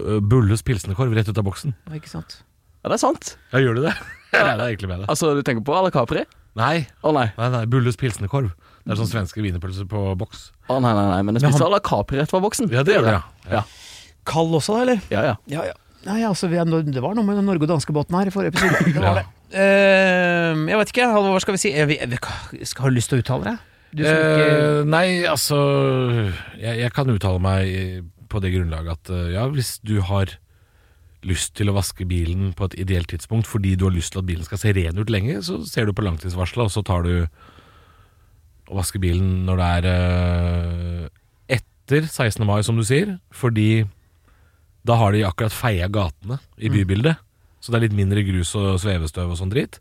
Speaker 2: eh, Bulles pilsnekorv rett ut av boksen.
Speaker 1: Nei, Ikke sant?
Speaker 3: Ja, det er sant.
Speaker 2: [laughs] Ja, gjør du det? Nei, det er egentlig med det.
Speaker 3: Altså, du tenker på à la Capri?
Speaker 2: Nei,
Speaker 3: Å nei.
Speaker 2: nei, nei Bulles pilsnekorv. Det er sånn svenske wienerpølser på boks.
Speaker 3: Å nei, nei, nei, men jeg
Speaker 1: Men
Speaker 3: spiser à la Capri rett fra boksen.
Speaker 2: Ja, det gjør det, ja.
Speaker 3: Ja,
Speaker 1: Kald også, da, eller?
Speaker 3: ja. ja.
Speaker 1: Ja, ja. Nei, altså, vi er, det var noe med den Norge- og danskebåten her i forrige
Speaker 3: [laughs]
Speaker 1: episode. Det var
Speaker 2: Ja.
Speaker 1: det. Eh, jeg vet ikke, Halvor, hva skal vi si? Eh, vi, vi, skal, har du lyst til å uttale deg? Du som ikke
Speaker 2: Eh, nei, altså jeg, jeg kan uttale meg på det grunnlaget at eh, ja, hvis du har lyst til å vaske bilen på et ideelt tidspunkt fordi du har lyst til at bilen skal se ren ut lenge, så ser du på langtidsvarselet, og så tar du og vasker bilen når det er eh, etter 16. mai, som du sier, fordi da har de akkurat feia gatene i
Speaker 1: Mm.
Speaker 2: bybildet, så det er litt mindre grus og svevestøv og sånn drit.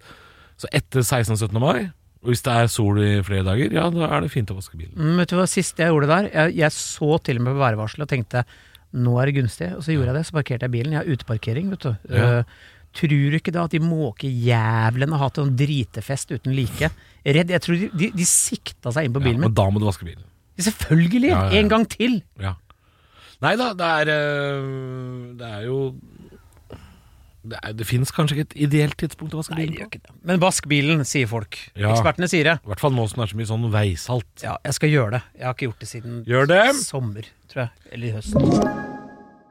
Speaker 2: Så etter 16. og 17. mai, og hvis det er sol i flere dager, ja, da er det fint å vaske bilen.
Speaker 1: Mm, vet du hva, Sist jeg gjorde det der, jeg, jeg så til og med på værvarselet og tenkte nå er det gunstig. Og så gjorde jeg det, så parkerte jeg bilen. Jeg har uteparkering, vet du.
Speaker 2: Ja.
Speaker 1: Eh, tror du ikke da at de måkejævlene har hatt en dritefest uten like? Redd, Jeg tror de, de, de sikta seg inn på
Speaker 2: Ja,
Speaker 1: bilen
Speaker 2: og da må du vaske bilen.
Speaker 1: min. Selvfølgelig!
Speaker 2: Ja, ja, ja.
Speaker 1: En gang til!
Speaker 2: Ja. Nei da, det er øh, Det er jo Det, er, det finnes kanskje ikke et ideelt tidspunkt å vaske
Speaker 1: Nei, det
Speaker 2: bilen
Speaker 1: gjør
Speaker 2: på.
Speaker 1: ikke det. Men vask bilen, sier folk.
Speaker 2: Ja.
Speaker 1: Ekspertene sier det.
Speaker 2: I hvert fall nå som det er så mye sånn veisalt.
Speaker 1: Ja, jeg skal gjøre det. Jeg har ikke gjort det siden
Speaker 2: Gjør det.
Speaker 1: sommer, tror jeg. Eller i høst.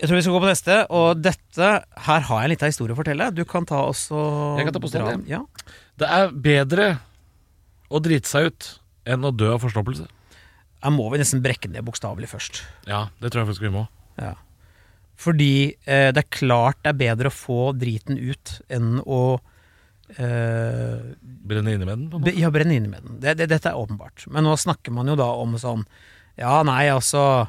Speaker 1: Jeg tror vi skal gå på neste, og dette Her har jeg en liten historie å fortelle. Du kan ta også
Speaker 2: Jeg kan ta påstand,
Speaker 1: dra
Speaker 2: jeg.
Speaker 1: den. ja.
Speaker 2: Det er bedre å drite seg ut enn å dø av forstoppelse.
Speaker 1: Her må vi nesten brekke ned bokstavelig først.
Speaker 2: Ja, det tror jeg faktisk vi må.
Speaker 1: Fordi eh, det er klart det er bedre å få driten ut enn å eh,
Speaker 2: Brenne inne med den. på en
Speaker 1: be,
Speaker 2: måte.
Speaker 1: ja, brenne inne med den. Det, det, dette er åpenbart. Men nå snakker man jo da om sånn Ja, nei, altså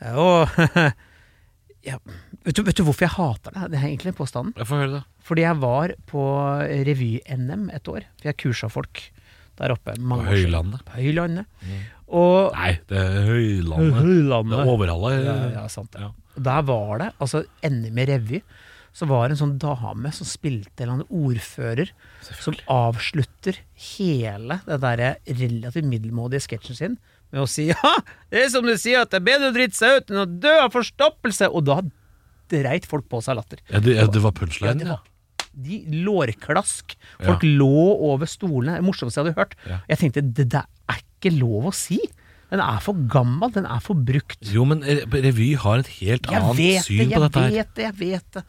Speaker 1: det er jo, [laughs] ja, vet, du, vet du hvorfor jeg hater det? Det er egentlig påstanden.
Speaker 2: Jeg får høre det.
Speaker 1: Fordi jeg var på revy-NM et år. For jeg kursa folk der oppe.
Speaker 2: På
Speaker 1: mange år siden.
Speaker 2: Høylandet.
Speaker 1: På Høylandet. Og
Speaker 2: Nei, det
Speaker 1: [laughs]
Speaker 2: er Høylandet. Det er
Speaker 1: Høylandet.
Speaker 2: overhallet.
Speaker 1: Ja, ja, sant det.
Speaker 2: Ja.
Speaker 1: Og Der var det, altså NM i revy, så var det en sånn dame som spilte en eller annen ordfører, som avslutter hele den derre relativt middelmådige sketsjen sin med å si [laughs] ja, det er som du sier, at det er bedre å drite seg ut enn å dø av forstoppelse! Og da dreit folk på seg latter.
Speaker 2: Ja, det, ja, det var
Speaker 1: Ja,
Speaker 2: punchline,
Speaker 1: det
Speaker 2: ja.
Speaker 1: var de lårklask. Folk lå over stolene. Det morsomste jeg hadde hørt.
Speaker 2: Ja.
Speaker 1: Jeg tenkte det der er ikke lov å si. Den er for gammel, den er for brukt.
Speaker 2: Jo, men re- revy har et helt
Speaker 1: Jeg
Speaker 2: annet
Speaker 1: vet det,
Speaker 2: syn på
Speaker 1: jeg
Speaker 2: dette her.
Speaker 1: vet det, jeg vet det.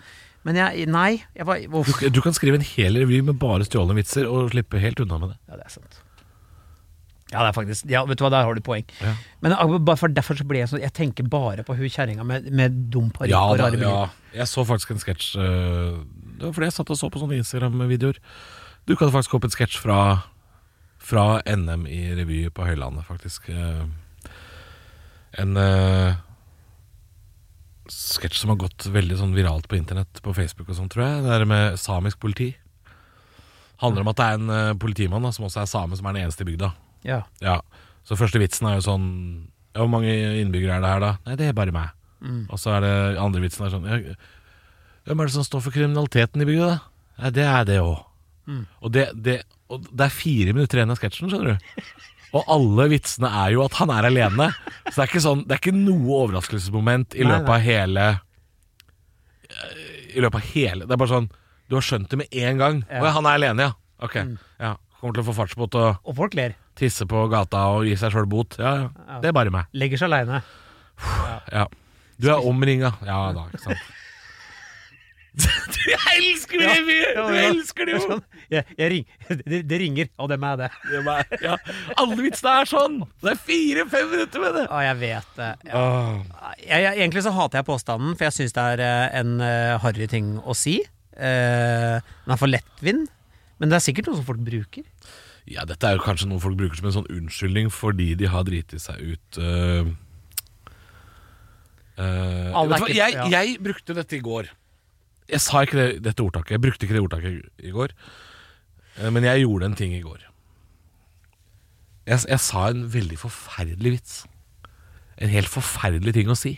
Speaker 1: Men jeg Nei. Jeg var,
Speaker 2: Du,
Speaker 1: uff.
Speaker 2: du kan skrive en hel revy med bare stjålne vitser og slippe helt unna med det.
Speaker 1: Ja, det er sant. Ja, det er faktisk Ja, vet du hva, der har du poeng.
Speaker 2: Ja.
Speaker 1: Men ah, bare for, derfor så ble jeg sånn Jeg tenker bare på hun kjerringa med, med dum parykk
Speaker 2: Ja,
Speaker 1: og
Speaker 2: da,
Speaker 1: rare
Speaker 2: ja.
Speaker 1: briller.
Speaker 2: Jeg så faktisk en sketsj eh, Det var fordi jeg satt og så på sånne Instagram-videoer. Du kan faktisk opp en sketsj fra, fra NM i revy på Høylandet, faktisk. Eh, En eh, sketsj som har gått veldig sånn viralt på internett, på Facebook og sånn, tror jeg. Det er med samisk politi. Handler om at det er en eh, politimann da, som også er same, som er den eneste i bygda.
Speaker 1: Ja.
Speaker 2: Ja, så første vitsen er jo sånn ja, Hvor mange innbyggere er det her da? Nei, det er bare meg
Speaker 1: Mm.
Speaker 2: Og så er det andre vitsen er sånn ja, Hvem er det som står for kriminaliteten i bygda da? Nei, det er det også
Speaker 1: Mm.
Speaker 2: og, det, det, og det er fire minutter igjen av sketsjen, skjønner du og alle vitsene er jo at han er alene Så det er ikke, sånn, det er ikke noe overraskelsesmoment I
Speaker 1: Nei,
Speaker 2: løpet av hele I løpet av hele Det er bare sånn, du har skjønt det med en gang Åja, han er alene, ja Ok,
Speaker 1: Mm.
Speaker 2: ja Kommer til å få fartsbåt og
Speaker 1: Og folk ler.
Speaker 2: Tisse på gata og gi seg sjøl bot. Ja, ja. Det er bare meg.
Speaker 1: Legger seg
Speaker 2: [laughs]
Speaker 1: aleine.
Speaker 2: Ja. Du er omringa. Ja da, ikke sant. Det er elsker det, vi- vi elsker det jo.
Speaker 1: Sånn, [laughs] jeg, jeg ring, det, det ringer, og det er meg, det.
Speaker 2: Ja, alle vitsene er sånn! Det er fire-fem minutter med det!
Speaker 1: [laughs] Ja, jeg vet det. Ja. Jeg, jeg, egentlig så hater jeg påstanden, for jeg syns det er eh, en uh, harry ting å si. Eh, den er for lettvint. Men det er sikkert noe som folk bruker.
Speaker 2: Ja, dette er jo kanskje noe folk bruker som en sånn unnskyldning fordi de har driti seg ut. øh, øh,
Speaker 1: Alle er
Speaker 2: vet du hva,
Speaker 1: ikke-
Speaker 2: jeg,
Speaker 1: ja.
Speaker 2: jeg brukte dette i går. Jeg sa ikke det, dette ordtaket. Jeg brukte ikke det ordtaket i går. Eh, Men jeg gjorde en ting i går. Jeg, jeg sa en veldig forferdelig vits. En helt forferdelig ting å si.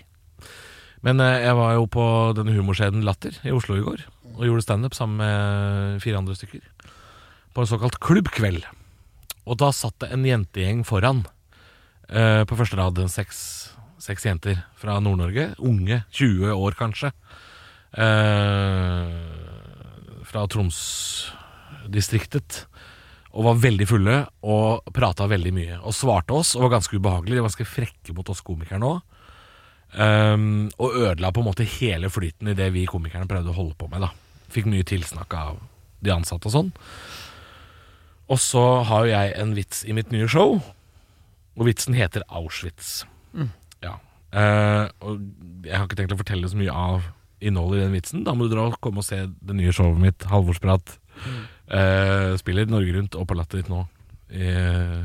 Speaker 2: Men eh, jeg var jo på denne humorskjeden Latter i Oslo i går. Og gjorde standup sammen med fire andre stykker. På en såkalt klubbkveld. Og da satt det en jentegjeng foran. eh, på første rad seks, seks jenter fra Nord-Norge. Unge. 20 år, kanskje. Eh, fra Troms-distriktet. Og var veldig fulle og prata veldig mye. Og svarte oss og var ganske ubehagelige. De var ganske frekke mot oss komikere nå. Ehm, og ødela på en måte hele flyten i det vi komikerne prøvde å holde på med. da Fikk mye tilsnakk av de ansatte og sånn. Og så har jo jeg en vits i mitt nye show, og vitsen heter Auschwitz.
Speaker 1: Mm.
Speaker 2: Ja. Eh, og jeg har ikke tenkt å fortelle så mye av innholdet i den vitsen. Da må du dra og komme og se det nye showet mitt, Halvorsprat. Eh, spiller Norge Rundt og på Latter litt nå, i,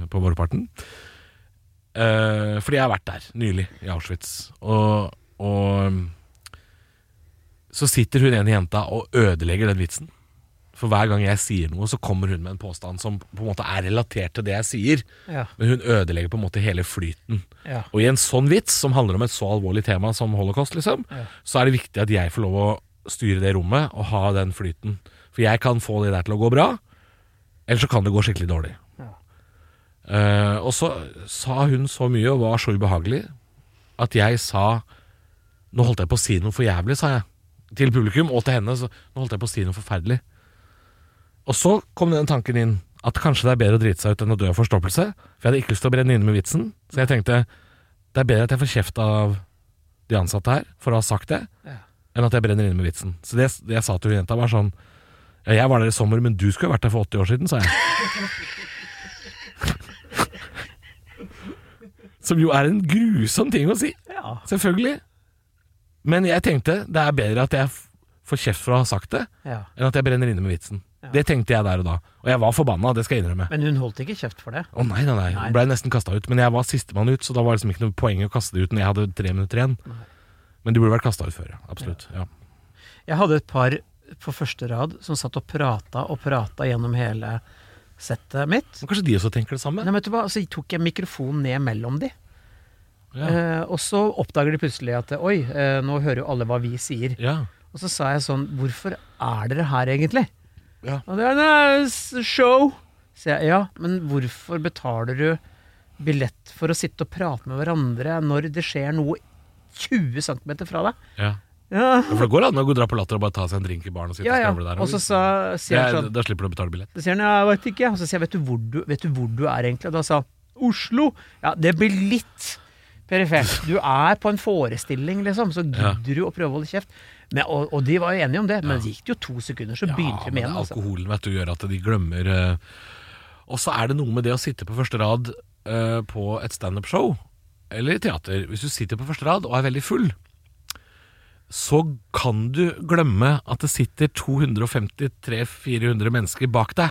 Speaker 2: på Vårparten. Eh, fordi jeg har vært der nylig, i Auschwitz. Og, og um, så sitter hun ene jenta og ødelegger den vitsen. For hver gang jeg sier noe, så kommer hun med en påstand som på en måte er relatert til det jeg sier.
Speaker 1: Ja.
Speaker 2: Men hun ødelegger på en måte hele flyten.
Speaker 1: Ja.
Speaker 2: Og i en sånn vits, som handler om et så alvorlig tema som holocaust, liksom, så er det viktig at jeg får lov å styre det rommet og ha den flyten. For jeg kan få det der til å gå bra, eller så kan det gå skikkelig dårlig. Eh, og så sa hun så mye og var så ubehagelig at jeg sa Nå holdt jeg på å si noe for jævlig, sa jeg. Til publikum og til henne. Så, nå holdt jeg på å si noe forferdelig. Og så kom den tanken inn at kanskje det er bedre å drite seg ut enn å dø av forstoppelse. For jeg hadde ikke lyst til å brenne inne med vitsen, så jeg tenkte det er bedre at jeg får kjeft av de ansatte her for å ha sagt det, enn at jeg brenner inne med vitsen. Så det, det jeg sa til hun jenta, var sånn ja, Jeg var der i sommer, men du skulle jo vært der for 80 år siden, sa jeg. [laughs] Som jo er en grusom ting å si.
Speaker 1: Ja.
Speaker 2: Selvfølgelig. Men jeg tenkte det er bedre at jeg f- får kjeft for å ha sagt det,
Speaker 1: Ja.
Speaker 2: enn at jeg brenner inne med vitsen. Det tenkte jeg der og da. Og jeg var forbanna, det skal jeg innrømme.
Speaker 1: Men hun holdt ikke kjeft for det.
Speaker 2: Å nei, nei, nei.
Speaker 1: Nei.
Speaker 2: Blei nesten kasta ut. Men jeg var sistemann ut, så da var det liksom ikke noe poeng å kaste det ut når jeg hadde tre minutter igjen. Men de burde vært kasta ut før, ja. Absolutt. Ja.
Speaker 1: Jeg hadde et par på første rad som satt og prata og prata gjennom hele settet mitt.
Speaker 2: Men kanskje de også tenker det samme?
Speaker 1: Nei, men vet du hva? Så tok jeg mikrofonen ned mellom de.
Speaker 2: Ja.
Speaker 1: Eh, og så oppdager de plutselig at oi, eh, nå hører jo alle hva vi sier.
Speaker 2: ja.
Speaker 1: Og så sa jeg sånn, hvorfor er dere her egentlig?
Speaker 2: Ja.
Speaker 1: Og det er "Nei, s- show. Så jeg, ja, men hvorfor betaler du billett for å sitte og prate med hverandre når det skjer noe 20 cm fra deg?
Speaker 2: ja.
Speaker 1: Ja,
Speaker 2: For det går an å gå og dra på latter og bare ta seg en drink i baren og sitte
Speaker 1: ja. ja.
Speaker 2: og skravle der.
Speaker 1: Og så sa, sier
Speaker 2: Ja,
Speaker 1: jeg sånn,
Speaker 2: Da slipper du å betale billett.
Speaker 1: så sier han, ja, jeg vet ikke. Og så sier jeg, vet du hvor du, vet du, hvor du er egentlig? Og da sa han, Oslo. Ja, det blir litt perifert. Du er på en forestilling, liksom, så
Speaker 2: Ja.
Speaker 1: gidder du å prøve å holde kjeft. Men, og, og de var jo enige om det, men det gikk jo to sekunder, så begynte de
Speaker 2: Ja, men
Speaker 1: igjen. altså.
Speaker 2: alkoholen vet du, gjør at de glemmer eh, Og så er det noe med det å sitte på første rad eh, på et standup-show eller i teater. Hvis du sitter på første rad og er veldig full, så kan du glemme at det sitter 250-300-400 mennesker bak deg.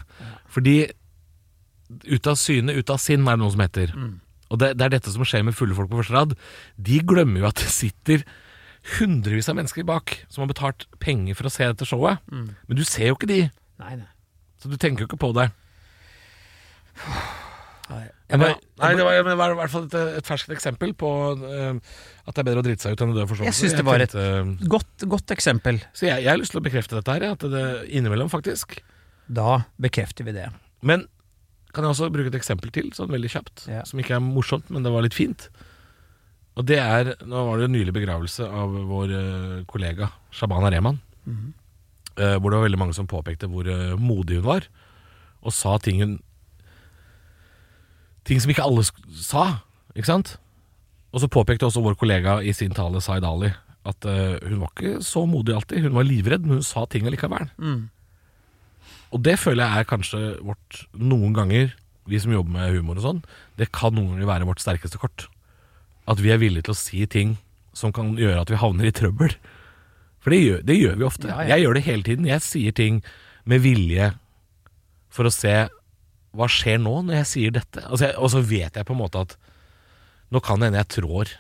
Speaker 2: Fordi ute av syne, ute av sinn, er det noe som heter.
Speaker 1: Mm.
Speaker 2: Og det, det er dette som skjer med fulle folk på første rad. De glemmer jo at det sitter hundrevis av mennesker bak som har betalt penger for å se dette showet.
Speaker 1: Mm.
Speaker 2: Men du ser jo ikke de,
Speaker 1: Nei, nei.
Speaker 2: så du tenker jo ikke på det.
Speaker 1: Jeg
Speaker 2: Nei,
Speaker 1: bare, jeg,
Speaker 2: det var, men det var i hvert fall et, et ferskt eksempel på eh, at det er bedre å drite seg ut enn å dø av forståelse.
Speaker 1: Jeg synes det var et-
Speaker 2: tenkte-
Speaker 1: bare- godt, godt eksempel.
Speaker 2: Så jeg, jeg har lyst til å bekrefte dette her, jeg, at det innimellom, faktisk.
Speaker 1: Da bekrefter vi det.
Speaker 2: Men kan jeg også bruke et eksempel til, sånn veldig kjapt,
Speaker 1: Ja.
Speaker 2: som ikke er morsomt, men det var litt fint. Og det er Nå var det en nylig begravelse av vår eh, kollega Shabana Rehman. eh, hvor det var veldig mange som påpekte hvor eh, modig hun var, og sa ting hun Ting som ikke alle sk- sa, ikke sant? Og så påpekte også vår kollega i sin tale Zaid Ali at eh, hun var ikke så modig alltid. Hun var livredd, men hun sa ting allikevel.
Speaker 1: Mm.
Speaker 2: Og det føler jeg er kanskje vårt Noen ganger, vi som jobber med humor og sånn, det kan noen ganger være vårt sterkeste kort. At vi er villige til å si ting som kan gjøre at vi havner i trøbbel. For det gjør, det gjør vi ofte.
Speaker 1: Ja, ja.
Speaker 2: Jeg gjør det hele tiden. Jeg sier ting med vilje for å se hva skjer nå når jeg sier dette. Altså jeg, og så vet jeg på en måte at nå kan det hende jeg trår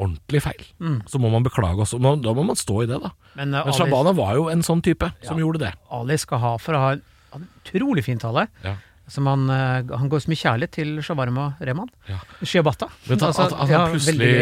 Speaker 2: ordentlig feil.
Speaker 1: Mm.
Speaker 2: Så må man beklage også. Men Da må man stå i det, da.
Speaker 1: Men, eh,
Speaker 2: Men
Speaker 1: Ali-
Speaker 2: Shabana var jo en sånn type som gjorde det.
Speaker 1: Ali skal ha for å ha en, han har en utrolig fin tale.
Speaker 2: Ja.
Speaker 1: Som han, eh, han går så mye kjærlighet til shawarma Rehman.
Speaker 2: Ja.
Speaker 1: Shiabata.
Speaker 2: Men at,
Speaker 1: Altså,
Speaker 2: at, at han
Speaker 1: ja, veldig gøy.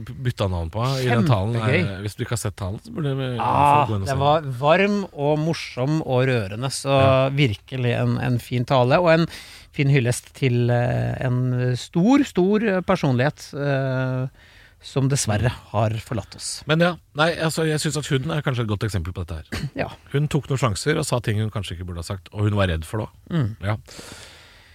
Speaker 2: plutselig bytta navn på henne i den talen er,
Speaker 1: Kjempegøy.
Speaker 2: Hvis du ikke har sett talen, så burde vi
Speaker 1: Ah,
Speaker 2: folk gå
Speaker 1: den
Speaker 2: inn og se den.
Speaker 1: var varm og morsom og rørende, så virkelig en, en fin tale. Og en fin hyllest til eh, en stor, stor eh, personlighet eh, som dessverre har forlatt oss.
Speaker 2: Men ja, nei, altså, jeg syns at hun er kanskje et godt eksempel på dette her.
Speaker 1: Ja.
Speaker 2: Hun tok noen sjanser og sa ting hun kanskje ikke burde ha sagt, og hun var redd for det.
Speaker 1: Mm.
Speaker 2: Ja.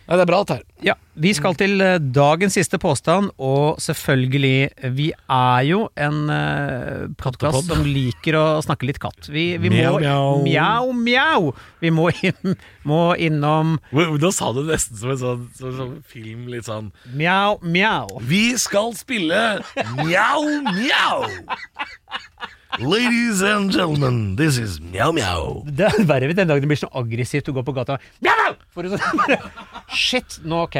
Speaker 2: Nei, det er bra, dette her.
Speaker 1: Ja, Vi skal til eh, dagens siste påstand, og selvfølgelig eh, Vi er jo en eh,
Speaker 2: Kattepod.
Speaker 1: podkast som liker å snakke litt katt. Vi, vi
Speaker 2: Mjau,
Speaker 1: må
Speaker 2: mjau.
Speaker 1: Mjau, mjau! Vi må, inn, må innom
Speaker 2: Wow, Da sa du det nesten som en sånn, som en sånn film, litt sånn
Speaker 1: mjau, mjau.
Speaker 2: Vi skal spille Mjau Mjau! Ladies and gentlemen, this is Mjau Mjau.
Speaker 1: Det er verre den dagen det blir så aggressivt å gå på gata. Mjau! For å sånn bare [laughs] Shit, nå ok.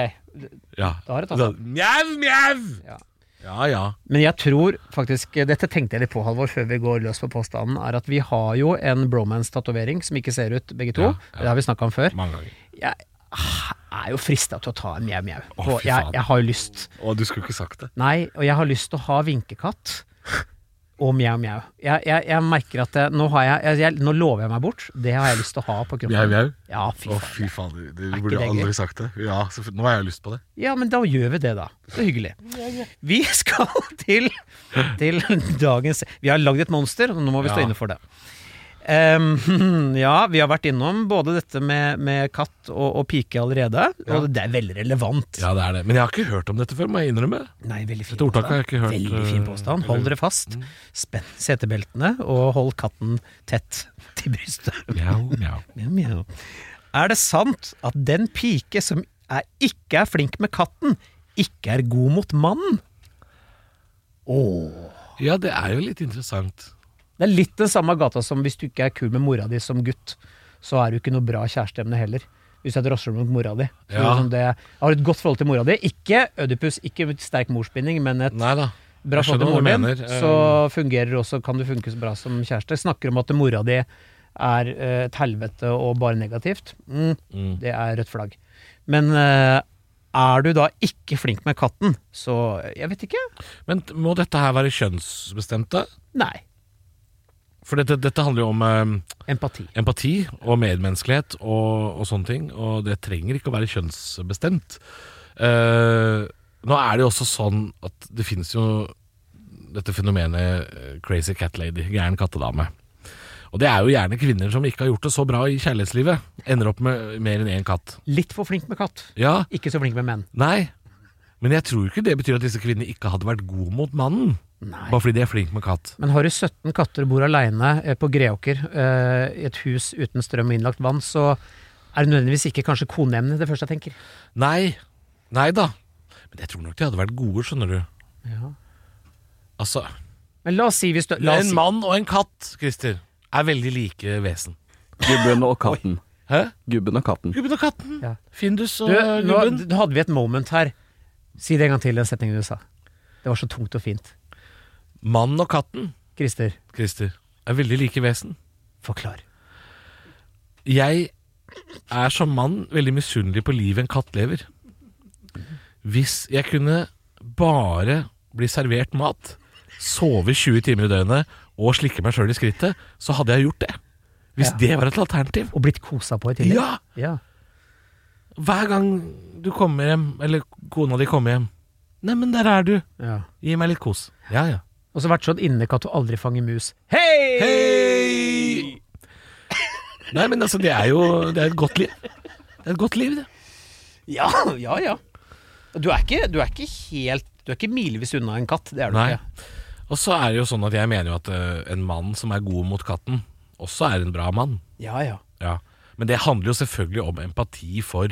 Speaker 2: Ja.
Speaker 1: Da har det tatt seg.
Speaker 2: Mjau, mjau!
Speaker 1: Ja.
Speaker 2: Ja, ja.
Speaker 1: Men jeg tror faktisk eh, Dette tenkte jeg litt på, Halvor, før vi går løs på påstanden. Er at vi har jo en bromance-tatovering som ikke ser ut, begge to.
Speaker 2: Ja, ja.
Speaker 1: Det har vi snakka om før.
Speaker 2: Mange ganger.
Speaker 1: jeg ah, er jo frista til å ta en mjau-mjau.
Speaker 2: Å,
Speaker 1: På-
Speaker 2: fy
Speaker 1: Jeg,
Speaker 2: faen.
Speaker 1: jeg har jo lyst.
Speaker 2: Å, du skulle ikke sagt det.
Speaker 1: Nei, og jeg har lyst til å ha vinkekatt og mjau-mjau. Jeg, jeg, jeg merker at det, nå, har jeg, jeg, jeg, nå lover jeg meg bort. Det har jeg lyst til å ha på kroppen.
Speaker 2: Mjau, mjau?
Speaker 1: Ja, fy
Speaker 2: Å,
Speaker 1: faen.
Speaker 2: fy faen. Du, du
Speaker 1: Er ikke
Speaker 2: burde
Speaker 1: det gøy?
Speaker 2: aldri sagt det. Ja, så, Nå har jeg lyst på det.
Speaker 1: ja, men da gjør vi det, da. Så hyggelig. Vi skal til, til dagens Vi har lagd et monster, og nå må vi stå
Speaker 2: Ja.
Speaker 1: inne for det. Ehm, [laughs] ja, vi har vært innom både dette med, med katt og, og pike allerede, og det er veldig relevant.
Speaker 2: Ja, det er det. Men jeg har ikke hørt om dette før, må jeg innrømme.
Speaker 1: Nei, veldig fin
Speaker 2: Dette ordtaket har jeg ikke hørt.
Speaker 1: Veldig fin
Speaker 2: eh, Mm.
Speaker 1: påstand. Hold dere fast. Spenn setebeltene, og hold katten tett til brystet. [laughs]
Speaker 2: Mjau, mjau.
Speaker 1: Mjau, mjau. Er det sant at den pike som er, ikke er flink med katten, ikke er god mot mannen? Åh.
Speaker 2: [laughs] Ja, det er jo litt interessant.
Speaker 1: Det er litt den samme gata som hvis du ikke er kul med mora di som gutt, så er du ikke noe bra kjæresteemne heller. Hvis du er et rasshøl mot mora di. Så
Speaker 2: Ja.
Speaker 1: liksom det, har du et godt forhold til mora di. Ikke Ødipus, ikke sterk morsbinding, men et
Speaker 2: Nei da.
Speaker 1: bra
Speaker 2: Jeg
Speaker 1: forhold til
Speaker 2: skjønner hva du
Speaker 1: moren
Speaker 2: mener. eh.
Speaker 1: din, så fungerer også, kan du funke så bra som kjæreste. Snakker om at mora di er eh, et helvete og bare negativt. Mm,
Speaker 2: Mm.
Speaker 1: Det er rødt flagg. Men eh, er du da ikke flink med katten, så jeg vet ikke.
Speaker 2: Men t- må dette her være kjønnsbestemt, da?
Speaker 1: Nei.
Speaker 2: For dette, dette handler jo om eh,
Speaker 1: Empati.
Speaker 2: empati og medmenneskelighet og, og sånne ting, og det trenger ikke å være kjønnsbestemt. Eh, nå er det jo også sånn at det finnes jo dette fenomenet eh, crazy cat lady, gæren kattedame. Og det er jo gjerne kvinner som ikke har gjort det så bra i kjærlighetslivet. Ender opp med mer enn én katt.
Speaker 1: Litt for flink med katt.
Speaker 2: Ja,
Speaker 1: Ikke så flink med menn.
Speaker 2: Nei, men jeg tror ikke det betyr at disse kvinnene ikke hadde vært gode mot mannen. Bare fordi de er flinke med katt.
Speaker 1: Men har du 17 katter og bor aleine på Greåker, eh, i et hus uten strøm og innlagt vann, så er det nødvendigvis ikke kanskje koneemnet det første jeg tenker.
Speaker 2: Nei, nei da. Men jeg tror nok de hadde vært gode, skjønner du. Altså,
Speaker 1: Men la oss si hvis du la oss
Speaker 2: En
Speaker 1: si-
Speaker 2: mann og en katt, Christer, er veldig like vesen.
Speaker 3: Gubben og katten.
Speaker 2: Hæ?
Speaker 3: Gubben og katten.
Speaker 2: Gubben og katten.
Speaker 1: Ja.
Speaker 2: Findus og
Speaker 1: Du, nå,
Speaker 2: gubben.
Speaker 1: nå hadde vi et moment her. Si det en gang til, den setningen du sa. Det var så tungt og fint.
Speaker 2: Mannen og katten,
Speaker 1: Christer,
Speaker 2: Christer, er veldig like vesen.
Speaker 1: forklar.
Speaker 2: Jeg er som mann veldig misunnelig på livet en katt lever. Hvis jeg kunne bare bli servert mat, sove 20 timer i døgnet og slikke meg sjøl i skrittet, så hadde jeg gjort det. Hvis
Speaker 1: Ja.
Speaker 2: det var et alternativ.
Speaker 1: Og blitt kosa på i tillegg.
Speaker 2: Ja!
Speaker 1: Ja.
Speaker 2: Hver gang du kommer hjem, eller kona di kommer hjem Neimen, der er du.
Speaker 1: Ja.
Speaker 2: Gi meg litt kos. Ja, ja.
Speaker 1: Og så vært sånn innekatt og aldri fange mus. Hei!
Speaker 2: Hei! Nei, men altså, det er jo Det er et godt liv. Det er et godt liv, det.
Speaker 1: Ja, ja, ja. Du er ikke, du er ikke helt Du er ikke milevis unna en katt, det er du
Speaker 2: Nei.
Speaker 1: ikke.
Speaker 2: Og så er det jo sånn at jeg mener jo at eh, en mann som er god mot katten, også er en bra mann.
Speaker 1: Ja, ja.
Speaker 2: Ja. Men det handler jo selvfølgelig om empati for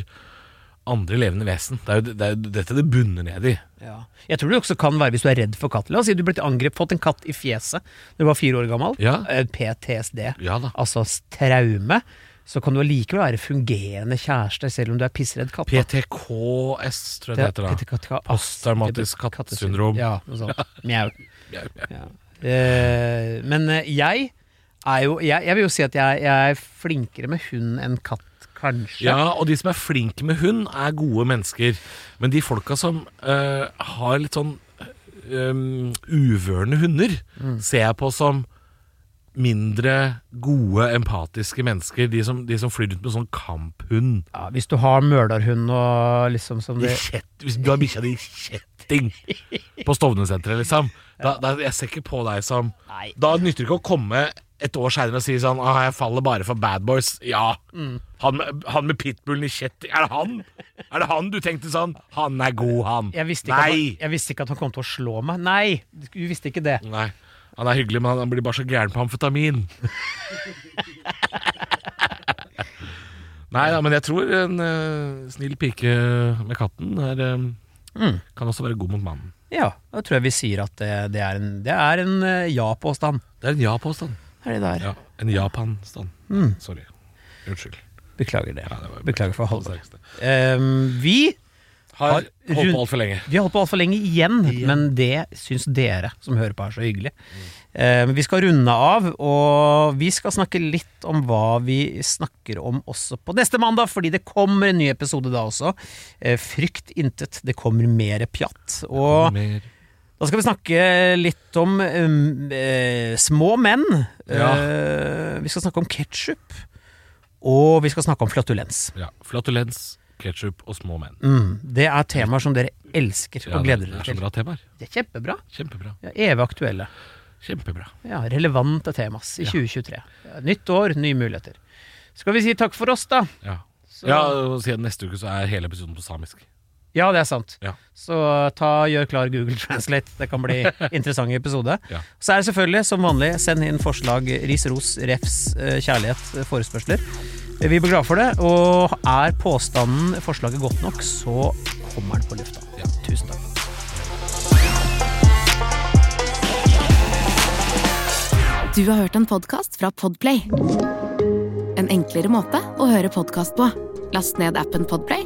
Speaker 2: andre levende vesen. Det er jo, det er jo dette det bunner ned i.
Speaker 1: Ja. Jeg tror det også kan være hvis du er redd for katt. La oss si du ble angrepet, fått en katt i fjeset da du var fire år gammel.
Speaker 2: Ja.
Speaker 1: Eh, PTSD,
Speaker 2: Ja da.
Speaker 1: altså s- traume. Så kan du allikevel være fungerende kjæreste selv om du er pissredd katt. da.
Speaker 2: PTKS, tror jeg det heter. da
Speaker 1: PTKK
Speaker 2: Posttraumatisk kattesyndrom.
Speaker 1: Ja, noe sånt.
Speaker 2: [laughs]
Speaker 1: Mjau. Ja. Eh, men eh, jeg er jo jeg, jeg vil jo si at jeg, jeg er flinkere med hund enn katt, kanskje.
Speaker 2: Ja, og de som er flinke med hund, er gode mennesker. Men de folka som eh, har litt sånn um, uvørende hunder, ser jeg på som mindre gode, empatiske mennesker. De som, de som flyr rundt med sånn kamphund.
Speaker 1: Ja, hvis du har mølerhund og liksom som
Speaker 2: I
Speaker 1: det
Speaker 2: kjett- Hvis du har bikkja di i kjetting på Stovnesenteret, liksom. Da, da, jeg ser ikke på deg som
Speaker 1: Nei.
Speaker 2: Da nytter det ikke å komme et år seinere og si sånn ah, 'Jeg faller bare for bad boys'. Ja.
Speaker 1: Mm.
Speaker 2: Han, med, han med pitbullen i kjetting Er det han? Er det han du tenkte sånn? Han er god, han.
Speaker 1: Jeg visste, ikke at han,
Speaker 2: Nei!
Speaker 1: jeg visste ikke at han kom til å slå meg. Nei, du visste ikke det.
Speaker 2: Nei. Han er hyggelig, men han blir bare så gæren på
Speaker 1: [laughs]
Speaker 2: amfetamin. Nei da, men jeg tror en eh, snill pike med katten er, eh,
Speaker 1: Mm.
Speaker 2: kan også være god mot mannen.
Speaker 1: Ja, da tror jeg vi sier at det, det er en, det er en eh, ja-påstand.
Speaker 2: Det er en ja-påstand.
Speaker 1: Er det der? Mm.
Speaker 2: Ja, en Japan-stand. Sorry. Unnskyld.
Speaker 1: Beklager det.
Speaker 2: Ja, det var-
Speaker 1: Beklager for å holde
Speaker 2: Sterkeste.
Speaker 1: Ehm, vi,
Speaker 2: Har
Speaker 1: Har
Speaker 2: holdt
Speaker 1: rund-
Speaker 2: på altfor lenge.
Speaker 1: vi har holdt på altfor lenge igjen, men det syns dere som hører på, er så hyggelig. Ehm, vi skal runde av, og vi skal snakke litt om hva vi snakker om også på neste mandag, fordi det kommer en ny episode da også. Eh, frykt intet, det kommer mer pjatt. Og
Speaker 2: Mer.
Speaker 1: Da skal vi snakke litt om um, eh, små menn.
Speaker 2: Ja.
Speaker 1: Eh, vi skal snakke om ketsjup. Og vi skal snakke om flatulens.
Speaker 2: Ja. Flatulens, ketsjup og små menn.
Speaker 1: Mm, det er temaer som dere elsker
Speaker 2: Ja,
Speaker 1: og
Speaker 2: det-
Speaker 1: gleder dere
Speaker 2: Det er så
Speaker 1: til.
Speaker 2: bra temaer.
Speaker 1: Det er kjempebra.
Speaker 2: Kjempebra.
Speaker 1: Ja, evig aktuelle.
Speaker 2: Kjempebra.
Speaker 1: Ja, relevante temas i 2023. Ja, Nytt år, nye muligheter. Skal vi si takk for oss, da?
Speaker 2: Ja.
Speaker 1: Så-
Speaker 2: ja, og siden neste uke så er hele episoden på samisk.
Speaker 1: Ja, det er sant.
Speaker 2: Ja.
Speaker 1: Så eh, ta, gjør klar Google Translate. Det kan
Speaker 2: [laughs]
Speaker 1: bli interessant episode.
Speaker 2: Ja.
Speaker 1: Så er det selvfølgelig, som vanlig, send inn forslag. Ris, ros, refs, eh, kjærlighet, eh, forespørsler. Eh, Vi blir glad for det. Og er påstanden forslaget godt nok, så kommer den på lufta. Tusen takk.
Speaker 4: Du har hørt en podcast fra Podplay En enklere måte å høre podcast på Last ned appen Podplay